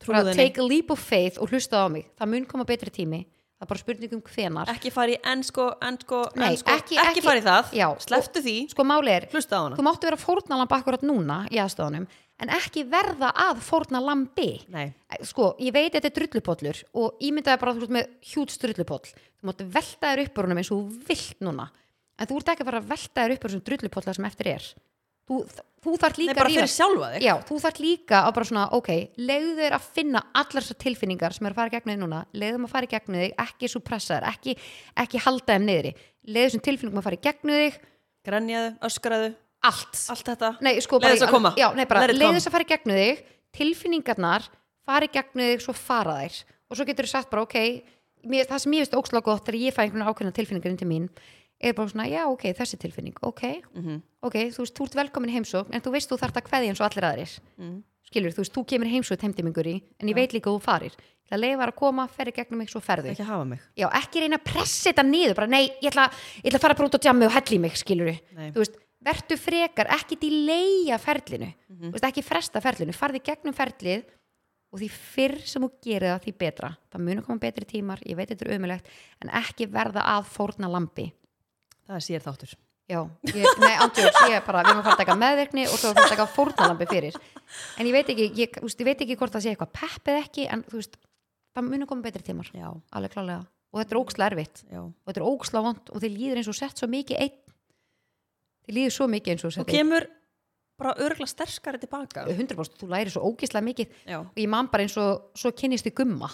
S2: Trúðu
S1: bara
S2: henni.
S1: take a leap of faith og hlusta á mig það mun koma betri tími, það er bara spurning um hvenar
S2: ekki fara í enn sko, enn sko,
S1: Nei,
S2: enn sko,
S1: ekki-
S2: ekki,
S1: ekki-
S2: fara í það
S1: Já.
S2: sleftu því,
S1: sko máli er,
S2: hlusta á hana
S1: þú máttu vera fórnalamb akkurat núna í aðstofanum, en ekki verða að fórnalambi
S2: nei,
S1: sko, ég veit þetta er drullupollur og ímyndaði bara að þú ert með hjút drullupoll þú máttu velta þér upp úr honum eins og þú vilt núna en þú ert ekki að fara að velta þér upp úr þessum drullupollar sem eftir er þú, þú þarf
S2: nei
S1: líka að
S2: bara
S1: rífa-
S2: fyrir sjálfa þig
S1: Já, þú þarf líka að bara svona, ok, leiðu þeir að finna allar þessar tilfinningar sem eru að fara í gegnum þig núna, leiðu þeim að fara í gegnum þig, ekki suppressa þær, ekki, ekki halda þeim niðri, leiðu þessum tilfinningum að fara í gegnum þig,
S2: grenjaðu, öskraðu,
S1: allt.
S2: allt þetta
S1: Nei, sko, bara
S2: Leiðu
S1: í
S2: þess að
S1: alveg-
S2: koma.
S1: Já, nei, bara
S2: Let it
S1: leiðu
S2: come.
S1: þess að fara í gegnum þig, tilfinningarnar, fara í gegnum þig, svo fara þær. Og svo getur þú sagt bara, ok, mér, það sem ég veist ókslega gott þegar ég fæ einhvern ákveðna tilfinningar inn til mín, er bara svona, já, ok, þessi tilfinning, ok,
S2: Mhm.
S1: ok, þú veist, þú ert velkomin í heimsókn en þú veist þú þarft að kveðja eins og allir aðrir
S2: Mm.
S1: skilur, þú veist, þú kemur í heimsókn heimdimingur í, en ég veit líka að þú farir það leifar að koma, ferði gegnum mig, svo ferðu
S2: ekki að hafa mig
S1: já, ekki reyna að pressa þetta niður bara, nei, ég ætla, ég ætla að fara bara út á djammi og helli mig, skilur,
S2: Nei.
S1: þú veist vertu frekar, ekki delaya ferlinu, þú veist, ekki fresta ferlinu farði gegnum ferlið og því fyrr sem þú gerir það, því betra það munu koma betri tímar, ég veit þetta er ömulegt en ekki verða að fórna lampi
S2: það er sér þáttur
S1: Já, ég, nei, andjóks, ég er bara, við erum að fara að taka meðverkni og svo erum að fara að taka fórnalambi fyrir. En ég veit ekki, ég, úst, ég veit ekki hvort það sé eitthvað pepp eða ekki, en þú veist, það munu koma betri tímar,
S2: já,
S1: alveg klálega. Og þetta er óksla erfitt,
S2: já
S1: og þetta er óksla vond og þið líður eins og sett svo mikið einn. Þið líður svo mikið eins og
S2: og
S1: sett einn.
S2: kemur bara örgla sterskari tilbaka
S1: 100% þú lærir svo ógisla mikið
S2: já,
S1: og ég man bara eins og, svo kynnist þið gumma.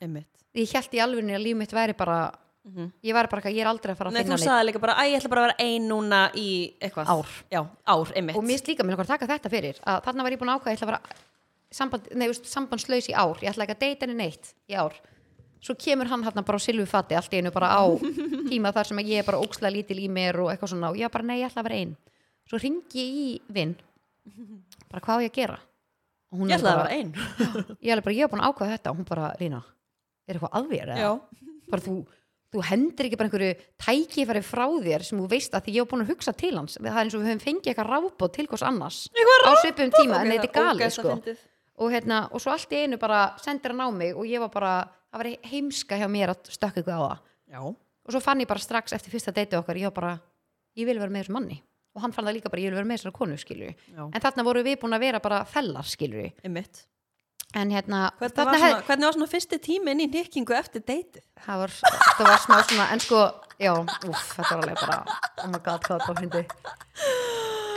S2: einmitt
S1: Ég held í alvegni að líf mitt væri bara,
S2: mm
S1: ég væri bara, eitthvað, ég er aldrei að fara að
S2: Nei, þú
S1: finna neitt.
S2: sagði líka bara, æ, ég ætla bara að vera ein núna í eitthvað
S1: Ár.
S2: Já, ár, einmitt
S1: og mér finnst líka, mér langar að taka þetta fyrir að þarna var ég búin að ákvæða, ég ætla að vera samband, nei, þú veist, sambandslaus í ár ég ætla ekki að deyta henni neitt í ár svo kemur hann hann bara á silfufati allt í einu bara á tíma þar sem að ég er bara ókslega lítil í mér og eitthvað svona og ég bara, nei, ég ætla að vera ein svo ringi ég í vinn bara hvað á ég að gera og hún er
S2: Ég ætla að
S1: bara,
S2: vera ein
S1: ég er bara, ég er búin að ákvæða þetta og hún bara, Lína, er eitthvað aðvér
S2: Já,
S1: bara þú, þú hendir ekki bara einhverju tækifæri frá þér sem þú veist að því ég hef búin að hugsa til hans það er eins og við höfum fengið eitthvað rábót til hvers annars
S2: Eitthvað
S1: á svipum tíma en þetta er
S2: Ok, það
S1: gali
S2: ógeðslega
S1: sko.
S2: fyndið.
S1: og, hérna, og svo allt í einu bara sendir hann á mig og ég var bara, það var heimska hjá mér að stökka ykkur á það
S2: Já,
S1: og svo fann ég bara strax eftir fyrsta deyti okkar ég var bara, ég vil vera með þessum manni og hann fann það líka bara, ég vil vera með þessari konu skilur
S2: já,
S1: en þarna voru við búin að vera bara fellar skilur
S2: einmitt
S1: en hérna,
S2: Hvernig var, svona, hvernig var svona fyrsti tíminn í nikkingu eftir deytið?
S1: það var, það var smá svona en sko, já, úf, þetta var alveg bara oh my god, hvað það hindi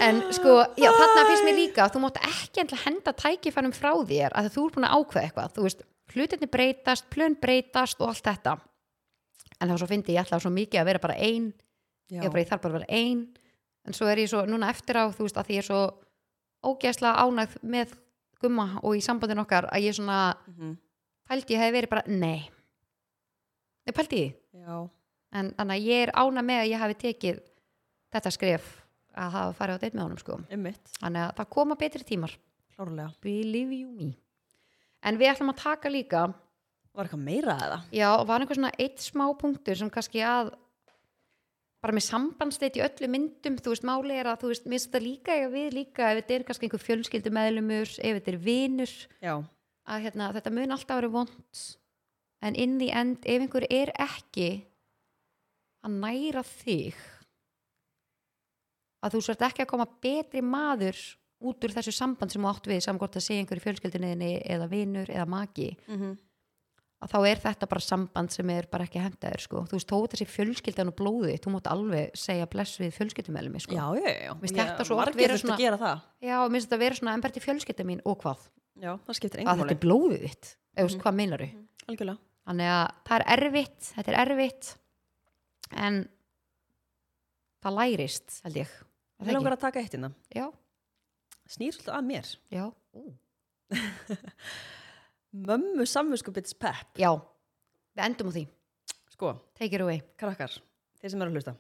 S1: en sko, já, þarna finnst mér líka að þú mátt ekki endilega henda tækifærum frá þér að þú er búin að ákveða eitthvað þú veist, hlutinni breytast, plön breytast og allt þetta en það var svo fyndi, ég ætlaði svo mikið að vera bara ein
S2: Já,
S1: ég, bara, ég þarf bara að vera ein en svo er ég svo, núna eftir á, þú veist, að því ég er svo ógeðslega ánægð með gumma og í sambandin okkar að ég svona,
S2: Mhm.
S1: pældi ég hefði verið bara, nei nei, pældi ég því?
S2: já,
S1: en þannig að ég er ána með að ég hafi tekið þetta skrif að hafa farið á deitt með honum sko
S2: einmitt,
S1: þannig að það koma betri tímar
S2: klárlega
S1: believe you me en við ætlum að taka líka
S2: Var eitthvað meira eða?
S1: já, var einhver svona eitt smá punktur sem kannski að bara með sambandsleit í öllu myndum þú veist, máli er að þú veist, minnst þetta líka eiga við líka ef þetta er kannski einhver fjölskyldu meðlumur ef þetta er vinur
S2: Já,
S1: að hérna, þetta mun alltaf verið vond en in the end ef einhver er ekki að næra þig að þú sért ekki að koma betri maður út úr þessu samband sem þú átt við samkvæmt að segja einhver í fjölskyldinni eða vinur eða maki að þá er þetta bara samband sem er bara ekki hendaður sko. þú veist, þó þessi fjölskyldan og blóði þú mátt alveg segja bless við fjölskyldumelmi sko.
S2: já, já, já
S1: Mér finnst
S2: Ég-
S1: þetta svo oft
S2: Margir
S1: vera
S2: þurftu
S1: svona-
S2: að gera það
S1: já, og minnst þetta vera svona en berti fjölskylda mín og hvað,
S2: Já, það skiptir
S1: að
S2: engum
S1: þetta er
S2: máli
S1: blóðið þitt eða þú veist, hvað meinar
S2: Algjörlega
S1: þannig að það er erfitt þetta er erfitt en það lærist held ég Er það
S2: Mér
S1: ekki?
S2: langar að taka eitt innan
S1: já,
S2: Snýr svolítið að mér
S1: já, ú.
S2: Mömmu samvinskupits pepp
S1: já, við endum á því
S2: Sko,
S1: take it away
S2: krakkar, þeir sem eru að hlusta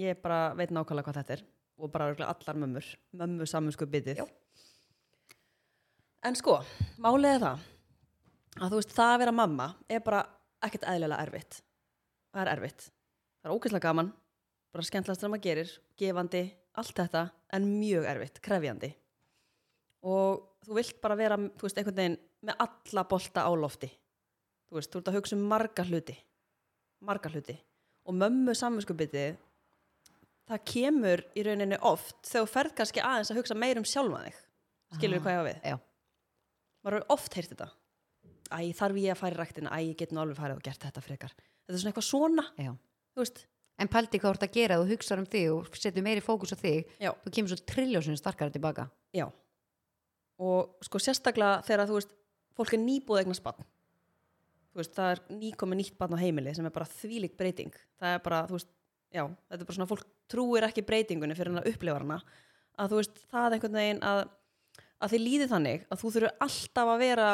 S2: ég bara veit nákvæmlega hvað þetta er og bara örugglega allar mömmur, mömmu saminsku bitið
S1: Já.
S2: en sko, málið er það að þú veist, það að vera mamma er bara ekkert eðlilega erfitt það er erfitt, það er ógeðslega gaman bara skemmtilegast þegar maður gerir, gefandi, allt þetta, en mjög erfitt, krefjandi. Og þú vilt bara vera, þú veist, einhvern veginn með alla bolta á lofti. Þú veist, þú ert að hugsa um marga hluti, marga hluti. Og mömmu samvinskubitið, það kemur í rauninni oft þegar þú ferð kannski aðeins að hugsa meir um sjálfa þig. Skilur
S1: Ah.
S2: hvað ég á við?
S1: Já.
S2: maður hefur oft heyrt þetta æ, þarf ég að fara í ræktina, æ, ég get nú alveg farið og gert þetta frekar, þetta er svona eitthvað svona
S1: Já.
S2: þú veist,
S1: En pældi hvað þú ert að gera, þú hugsar um þig og setur meiri fókus á þig,
S2: já,
S1: þú kemur svo trilljósinu starkara tilbaka.
S2: já og sko sérstaklega þegar þú veist fólk er nýbúð eignast barn þú veist, það er nýkomið nýtt barn á heimili sem er bara þvílík breyting það er bara, þú veist, já, þetta er bara svona fólk trúir ekki breytingunni fyrir hann að upplifa hana að þú veist, það er einhvern veginn að, að þið líði þannig að þú þurfur alltaf að vera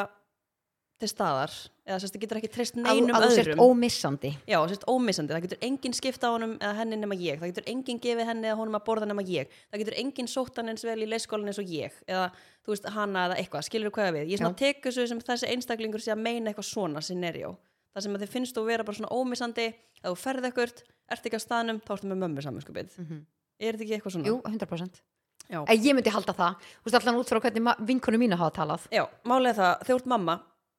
S2: til staðar, eða sérst, þú getur ekki treyst
S1: að, að
S2: neinum
S1: þú
S2: öðrum
S1: sért ómissandi.
S2: Já, sérst ómissandi, það getur enginn skipta á honum eða henni nema ég, það getur enginn gefið henni eða honum að borða nema ég, það getur enginn sótt hann eins vel í leikskólan eins og ég eða þú veist hana eða eitthvað, skilur þú hvað ég á við ég svona tek þessu sem þessi einstaklingur sé að meina eitthvað svona scenario, það sem að þið finnst þú vera bara svona ómissandi, að þú ferð ekkert ert ekki á staðnum, þá ertu með mömmu saman sko byrð, er þetta ekki eitthvað svona?
S1: Jú, 100%.
S2: Já.
S1: En ég myndi halda það. Þú veist allan út frá hvernig vinkonu mínu hafa talað.
S2: Já, málega það, þegar þú ert mamma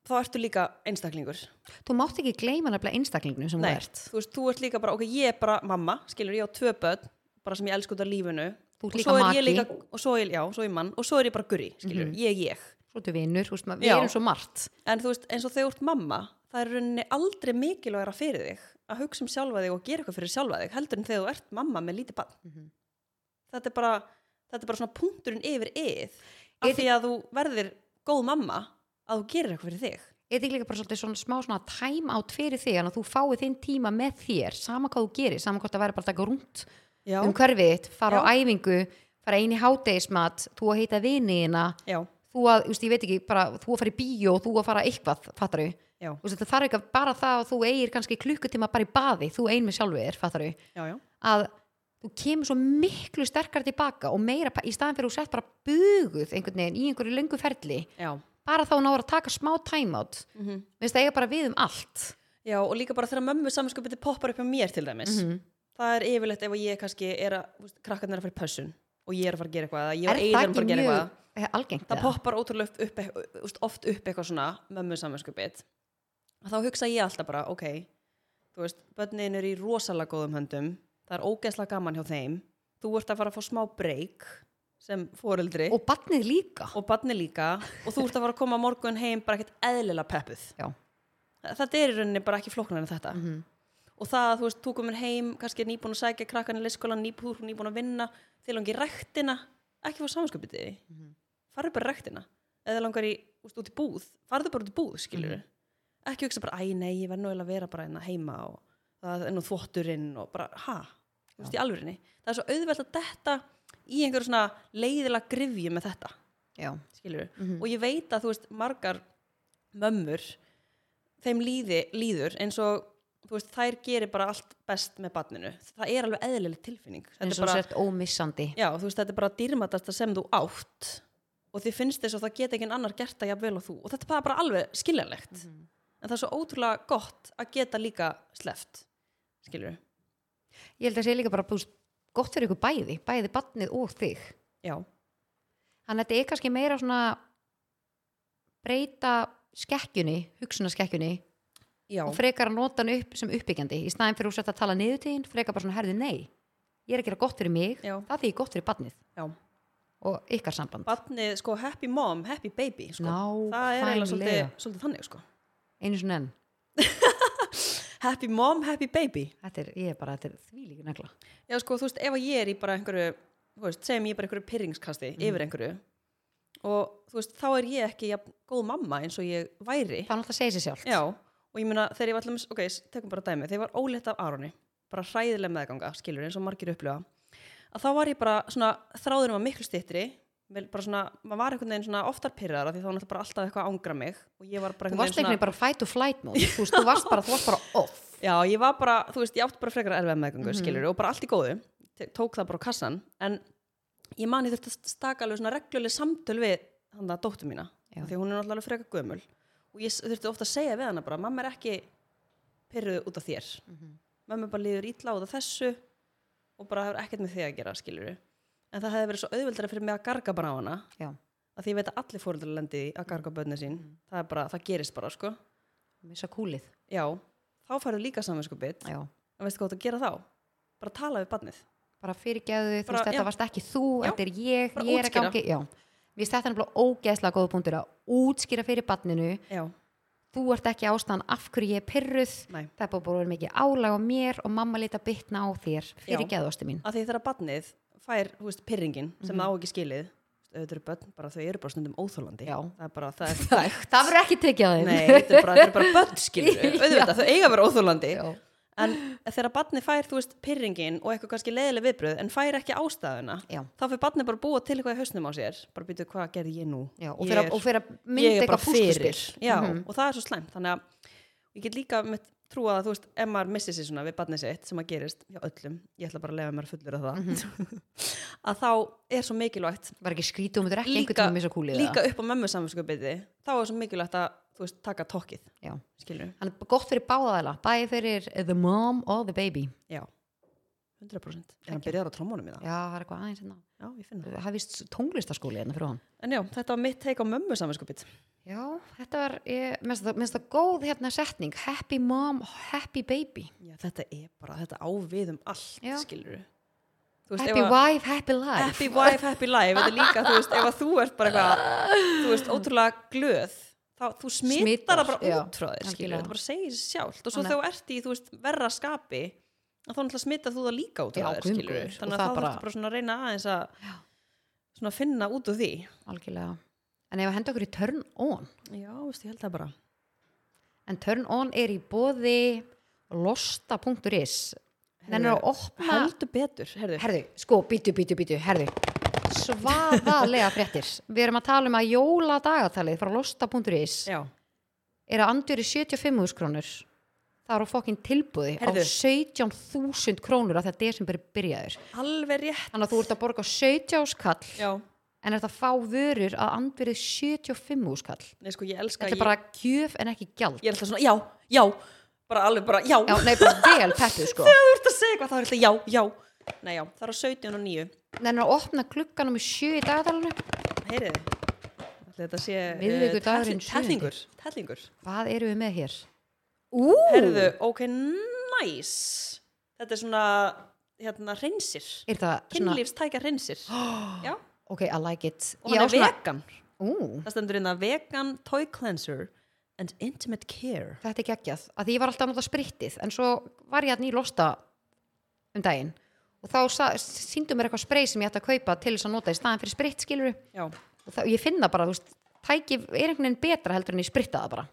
S2: þá ertu líka einstaklingur
S1: Þú mátt ekki gleyma nefnilega einstaklingnum sem þú
S2: Nei,
S1: ert.
S2: þú veist, þú ert líka bara, ok, ég er bara mamma, skilur, ég á tvö börn, bara sem ég elsku út af lífinu.
S1: Þú ert
S2: Og
S1: líka
S2: svo er
S1: maki. Mhm.
S2: ég líka, og svo er, já, svo er ég mann, og svo er ég bara gurri, skilur, ég er ég.
S1: Svo ertu vinnur, þú veist maður, við
S2: Já.
S1: erum svo margt.
S2: En þú veist, eins og þegar þú ert mamma, það er í rauninni aldrei mikilvægra fyrir þig að hugsa um sjálfa þig og gera eitthvað fyrir sjálfa þig, heldur en þegar þú ert mamma með lítið barn.
S1: Mhm.
S2: Þetta er bara, þetta er bara svona punkturinn yfir eð, af
S1: Er-
S2: því að þú verðir góð mamma að þú gerir eitthvað fyrir þig.
S1: Er þetta ekki líka bara svolítið svona smá svona time out fyrir þig, þannig að þú fáið þinn tíma með þér, sama hvað þú gerir, sama hvort það væri bara að taka rúnt
S2: Já,
S1: um hverfið þitt, fara á
S2: Já.
S1: æfingu, fara einn í hátegismat, þú að heita viniðina,
S2: já,
S1: þú að, þú veist, ég veit ekki, bara þú að fara í bíó, þú að fara eitthvað, fattar þú?
S2: já,
S1: Þú veist, það þarf ekki að bara það að þú eigir kannski klukkutíma bara í baði, þú ein með sjálfið þér, fattar þú?
S2: já, já.
S1: Að þú kemur svo miklu sterkar tilbaka og meira, pa- í staðan fyrir að þú sett bara buguð einhvern veginn í einhverju löngu ferli,
S2: já.
S1: bara þá náður að taka smá time out,
S2: Mm -hmm.
S1: Mér finnst það eiga bara við um allt.
S2: Já, og líka bara þegar mömmu samanskupið poppar upp hjá mér til dæmis.
S1: Mhm.
S2: Það er yfirleitt ef að ég kannski er að, þú veist, krakkarnir er að fara í pössun og ég er að fara að gera eitthvað, eða ég
S1: Er
S2: og Eyrun
S1: það
S2: er að fara
S1: ekki
S2: að gera eitthvað.
S1: mjög eh, algengt?
S2: Það
S1: eða?
S2: poppar ótrúlega upp, upp, upp, þú veist, oft upp eitthvað svona mömmu samanskupið. Þá hugsa ég alltaf bara, ok, þú veist, börnin eru í rosalega góðum höndum, það er ógeðslega gaman hjá þeim, þú ert að fara að fá smá breyk sem foreldri og,
S1: Og barnið líka.
S2: og barni líka og þú ert að fara að koma á morgun heim bara ekkert eðlilega peppuð.
S1: Já.
S2: Þetta er í rauninni bara ekki flóknar en þetta
S1: Mm
S2: og það að þú veist, þú komin heim kannski er nýbúin að sækja krakkan í leyskólan nýbúin, þú er nýbúin að vinna, þið langar í rektina ekki fá samanskapið þig mm
S1: Mhm.
S2: farðu bara í rektina, eða langar í úst, út í búð, farðu bara út í búð, skilur
S1: Mhm.
S2: ekki hugsa bara, æ nei, ég verð nú eiginlega að vera bara hérna heima og það er nú þvotturinn og bara, ha, þú veist, í alvörinni það er svo auðvelt að detta í einhverju svona leiðilega grifju með þetta
S1: Já.
S2: skilur
S1: Mhm.
S2: og ég veit að þú veist margar mömmur þeim líði, líður eins og þú veist þær gerir bara allt best með barninu, það er alveg eðlileg tilfinning þetta
S1: En
S2: er
S1: svo
S2: bara,
S1: sért ómissandi.
S2: já, þú veist, þetta er bara dýrmatasta sem þú átt og þið finnst þess að það geta ekki annar gert það jafnvel og þú og þetta er bara- bara alveg skiljanlegt
S1: Mhm.
S2: en það er svo ótrúlega gott að geta líka sleft skilur,
S1: Ég held að segja líka bara búst, gott fyrir ykkur bæði, bæði barnið og þig.
S2: já,
S1: Þannig að þetta er kannski meira svona breyta skekkjunni, hugsunaskekkjunni
S2: já,
S1: og frekar að nota hann upp sem uppbyggjandi í staðin fyrir úsett að tala niður til hinn, frekar bara svona herði nei. Ég er að gera gott fyrir mig,
S2: Já.
S1: það því gott fyrir barnið
S2: já
S1: og ykkar samband.
S2: barnið, sko, happy mom, happy baby sko. það er eiginlega svolítið,
S1: Nákvæmlega.
S2: svolítið þannig sko.
S1: Einu svona enn.
S2: happy mom, happy baby
S1: Þetta er, ég er bara, þetta er þvílíku negla.
S2: Já, sko, þú veist, ef að ég er í bara einhverju, þú veist, segjum ég bara einhverju pyrringskasti yfir einhverju og þú veist, þá er ég ekki jafn góð mamma eins og ég væri.
S1: Það er náttúrulega að segja sér sjálft.
S2: Já, og ég meina, þegar ég var allum, ok, s- tökum bara dæmi, þegar ég var ólétt af Aroni, bara hræðileg meðganga, skilur eins og margir upplifa, að þá var ég bara svona, þráðurinn var miklu styttri, vel bara svona, maður var einhvern veginn svona oftar pyrrar af því þá var náttúrulega bara alltaf eitthvað að ángra mig og ég var bara
S1: Þú
S2: einhvern
S1: varst
S2: veginn
S1: ekki
S2: svona,
S1: bara fight or flight mode, þú veist, þú varst bara, þú varst bara off.
S2: já, ég var bara, þú veist, ég átti bara frekar erfið meðgöngu,
S1: Mhm.
S2: mm og bara allt í góðu, Te- tók það bara á kassan, en ég man ég þurfti að staka alveg svona regluleg samtöl við hann það dóttu mína,
S1: Já.
S2: af því að hún er náttúrulega alveg frekar gömul og ég s- þurfti ofta að segja við hana bara, mamma er ekki pyrruð út af þér,
S1: Mhm.
S2: mamma bara líður illa út af þessu og bara hefur ekkert með þig að gera skilur en það hefði verið svo auðveldara fyrir mig að garga bara á hana
S1: já,
S2: að því ég veit að allir fóreldrar lendi í að garga bönni sín
S1: Mhm.
S2: það er bara, það gerist bara sko
S1: missa kúlið
S2: já, þá færðu líka saminskupið
S1: já.
S2: en veistu hvað þú átt að gera þá? bara tala við barnið
S1: bara fyrirgeðu, þú veist,
S2: Bara,
S1: þetta
S2: já.
S1: varst ekki þú
S2: Já,
S1: þetta er ég,
S2: bara
S1: ég er að
S2: útskýra.
S1: gangi já, mér stætti hann bara ógeðslega góða punktur að útskýra fyrir barninu
S2: já,
S1: þú ert ekki ástæðan af hverju ég er pyrruð
S2: næ
S1: það er bara búin mikið álæg á mér og mamma lita bitna á þér fyrir geðosti mín
S2: að því þegar barnið fær þú veist, pyrringin
S1: Mhm.
S2: sem það á ekki skilið þú veist, auðvitað eru börn, bara þau eru bara stundum óþólandi
S1: Já.
S2: það er bara, það er þægt
S1: það verður ekki tekið að þeim
S2: nei, þetta er bara, þetta er bara börn skilur auðvitað, þau eiga að vera óþólandi
S1: Já.
S2: en þegar barnið fær, þú veist, pyrringin og eitthvað kannski leiðileg viðbröð, en fær ekki ástæðuna
S1: Já.
S2: þá fyrir barnið bara að búa til eitthvað í hausnum á sér bara býtu, hvað gerði ég nú?
S1: Já, og
S2: Ég
S1: fyrir
S2: er-
S1: að- og fyrir að
S2: ég
S1: mynda
S2: er bara
S1: eitthvað
S2: fyrir
S1: pústuspil Mhm.
S2: já, og það er svo slæmt þannig að ég get líka með trúa að þú veist, ef maður missir sér svona við barnið sitt sem að gerist hjá öllum, ég ætla bara að lefa mér að fullur að það
S1: Mhm.
S2: að þá er svo mikilvægt
S1: var ekki skrítið um og myndur ekki einhvern
S2: líka,
S1: tíma missa kúlið
S2: líka upp á mömmu samvinskupið þá er svo mikilvægt að þú veist, taka tokkið
S1: Já.
S2: skilur,
S1: hann er gott fyrir báðaðala bæði fyrir the mom og the baby
S2: já 100% er hann byrjar á trómónum í það
S1: já, það er eitthvað aðeins hérna
S2: já, ég finn það
S1: það er vist tónlistaskóli hérna fyrir hann
S2: en já, þetta var mitt teik á mömmu samvinskupið
S1: já, þetta var, ég- mér finnst það- mér finnst það góð hérna setning, happy mom happy baby,
S2: já, þetta er bara, þetta á við um allt
S1: Já.
S2: skilur þú veist, ef
S1: happy
S2: að-
S1: wife, happy life
S2: happy wife, happy life þetta er líka, þú veist, ef að þú ert bara eitthvað þú veist, ótrúlega glöð þá þú smittar,
S1: Smitar,
S2: það bara
S1: já,
S2: útráðir skilur,
S1: algjörlega.
S2: þetta bara segir sig sjálft og svo
S1: Þannig-
S2: þegar þú ert í, þú veist, verra skapi að þá náttúrulega smittar þú það líka
S1: Já,
S2: útráðir
S1: guð minn
S2: skilur,
S1: góður, og
S2: þannig að
S1: það
S2: þá
S1: bara-
S2: þarfst bara svona að reyna aðeins að svona finna út úr því
S1: algjörlega, en ef að henda okkur í turn on
S2: já, veist, ég held það bara
S1: en turn on er í bóði losta.is þannig að opna
S2: heldur betur, herðu,
S1: Herðu, sko, býtu, býtu, býtu, herðu Svaðalega fréttir Við erum að tala um að jóladagatalið frá losta.is
S2: já,
S1: er að andjur í 75.000 krónur Það eru fokkin tilbúði
S2: Heyrðu.
S1: á 17.000 krónur að þetta desember er byrjaður
S2: alveg rétt
S1: Þannig að þú ert að borga 17 skall
S2: já,
S1: en ert að fá vörur að andbyrði 75 skall
S2: nei sko, ég elska
S1: Þetta er bara gjöf en ekki gjald
S2: ég, ég er alltaf svona, já, já, bara alveg bara, já,
S1: Já, nei, bara vel peppuð sko
S2: Ef þú ert að segja eitthvað þá er alltaf já, já Nei, já, það er á 17 og 9
S1: Þannig að opna klukkanum í 7 í dagatalinu
S2: Heyriði Ætli Þetta sé eh,
S1: Miðvikudagurinn
S2: telling- Tellingur, tellingur
S1: Hvað eru við með hér? Ú,
S2: Herðu, ok, nice Þetta er svona, hérna, reynsir
S1: er það svona
S2: Kynlífstækja reynsir Já,
S1: Ok, I like it
S2: og hann er vegan
S1: Ú,
S2: Það stendur inn að vegan toy cleanser and intimate care
S1: þetta er geggjað að því ég var alltaf að nota sprittið en svo var ég að nýja losta um daginn og þá sa- sýndu mér eitthvað sprey sem ég ætti að kaupa til þess að nota í staðan fyrir spritt skilur
S2: Já,
S1: og það, ég finna bara, þú veist, tæki er einhvern veginn betra heldur en ég spritta það bara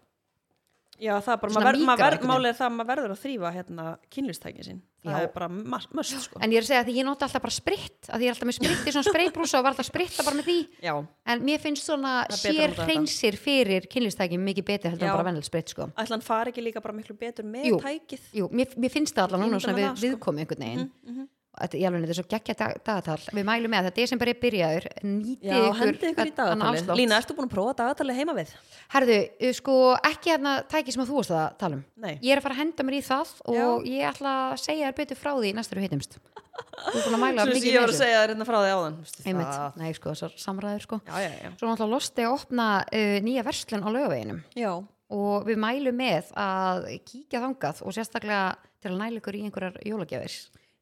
S2: já það er bara,
S1: Svona
S2: maður verð,
S1: mýkara
S2: maður
S1: einhvern
S2: verð,
S1: veginn.
S2: málið er það að maður verður að þrýfa hérna kynlífstækja sín Það
S1: Já.
S2: er bara must, must sko
S1: en ég er að segja að því ég nota alltaf bara spritt að því ég er alltaf með spritt í svona spreybrúsa og var alltaf að spritta bara með því
S2: Já,
S1: en mér finnst svona
S2: Það er betra að
S1: sér
S2: nota þetta.
S1: hreinsir fyrir kynlistæki mikið betur heldur
S2: Já.
S1: en bara vennil spritt sko
S2: ætla hann fari ekki líka bara miklu betur með
S1: Jú.
S2: tækið
S1: Jú, mér, mér finnst það allan
S2: Ég
S1: núna
S2: ímynda
S1: svona
S2: mér
S1: við,
S2: það, sko. mhm.
S1: viðkomi einhvern veginn þetta, ég alveg, þetta er svo geggja dag, dagatal við mælum með að desember er byrjaður nýtið hérna
S2: Já, hendi ykkur í
S1: þennan
S2: dagatalið.
S1: afslátt.
S2: Lína, ertu búin að prófa dagatalið heima við?
S1: herðu, uh, sko, ekki hérna tæki sem að þú varst að tala um
S2: Nei.
S1: ég er að fara að henda mér í það og ég ætla að segja þér betur frá því næstur við hittumst þú er búin að mæla
S2: Svo sem
S1: mikið
S2: ég
S1: með
S2: var að
S1: þessu.
S2: segja Ah. það hérna frá því áðan. Vistu,
S1: Einmitt. nei, sko, þessar samræður sko
S2: Já, já, já.
S1: svo náttúrulega losti að opna uh, nýja verslun á lögaveginum
S2: Já,
S1: og við mælum með að kíkja þangað og sérstaklega til að næla ykkur í einhverjar jólagjafir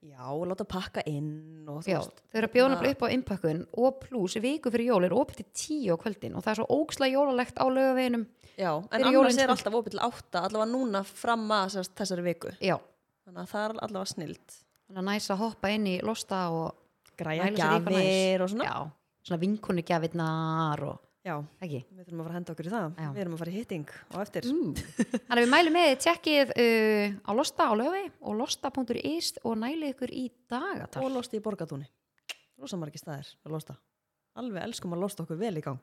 S2: já, láta pakka inn og þú
S1: Já,
S2: veist.
S1: þau eru að bjóða nefnilega upp á innpökkun og pluss viku fyrir jól er opið til tíu á kvöldin og það er svo ógsla jólalegt á lögaveginum
S2: Já, en
S1: Fyrir
S2: annars
S1: jólin,
S2: er
S1: sko.
S2: alltaf opið til átta, allavega núna fram að sérst, þessari viku.
S1: Já,
S2: Þannig að það er allavega snild.
S1: þannig að næs að hoppa inn í losta og
S2: Græja
S1: Mæla sér eitthvað
S2: gjafir og svona.
S1: já, svona vinkonu gjafinnar og
S2: Já.
S1: ekki
S2: Við þurfum að fara að henda okkur í það.
S1: Já.
S2: Við erum að fara í hitting og eftir.
S1: Þannig að við mælum með þið tjekkið uh, á losta á löfi og losta.is og nælið ykkur í dagatal
S2: Og losti í borgatúni. Rosa margir staðir að losta. Alveg elskum að losta okkur vel í gang.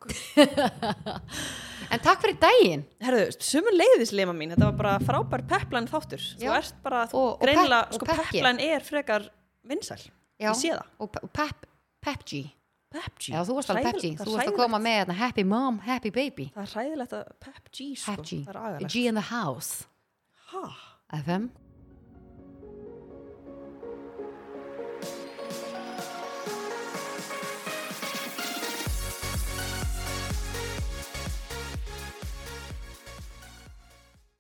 S1: En takk fyrir daginn
S2: Herðu, sumun leiðis lema mín, þetta var bara frábær peplan þáttur. Þú
S1: Já.
S2: ert bara, þú
S1: Og- og
S2: greinilega,
S1: pep- og
S2: sko
S1: pepki.
S2: peplan er frekar vinsæl.
S1: Já.
S2: Ég sé það.
S1: og, pe- og pep, pep G
S2: PepG.
S1: Já, þú varst alveg pep G,
S2: Hræðilegt- það er
S1: þú varst að
S2: hræðilegt-
S1: koma með hérna, happy mom, happy baby
S2: Það er hræðilegt að PepG, sko.
S1: Pep G,
S2: Það er agalegt.
S1: G in the house
S2: Ha?
S1: FM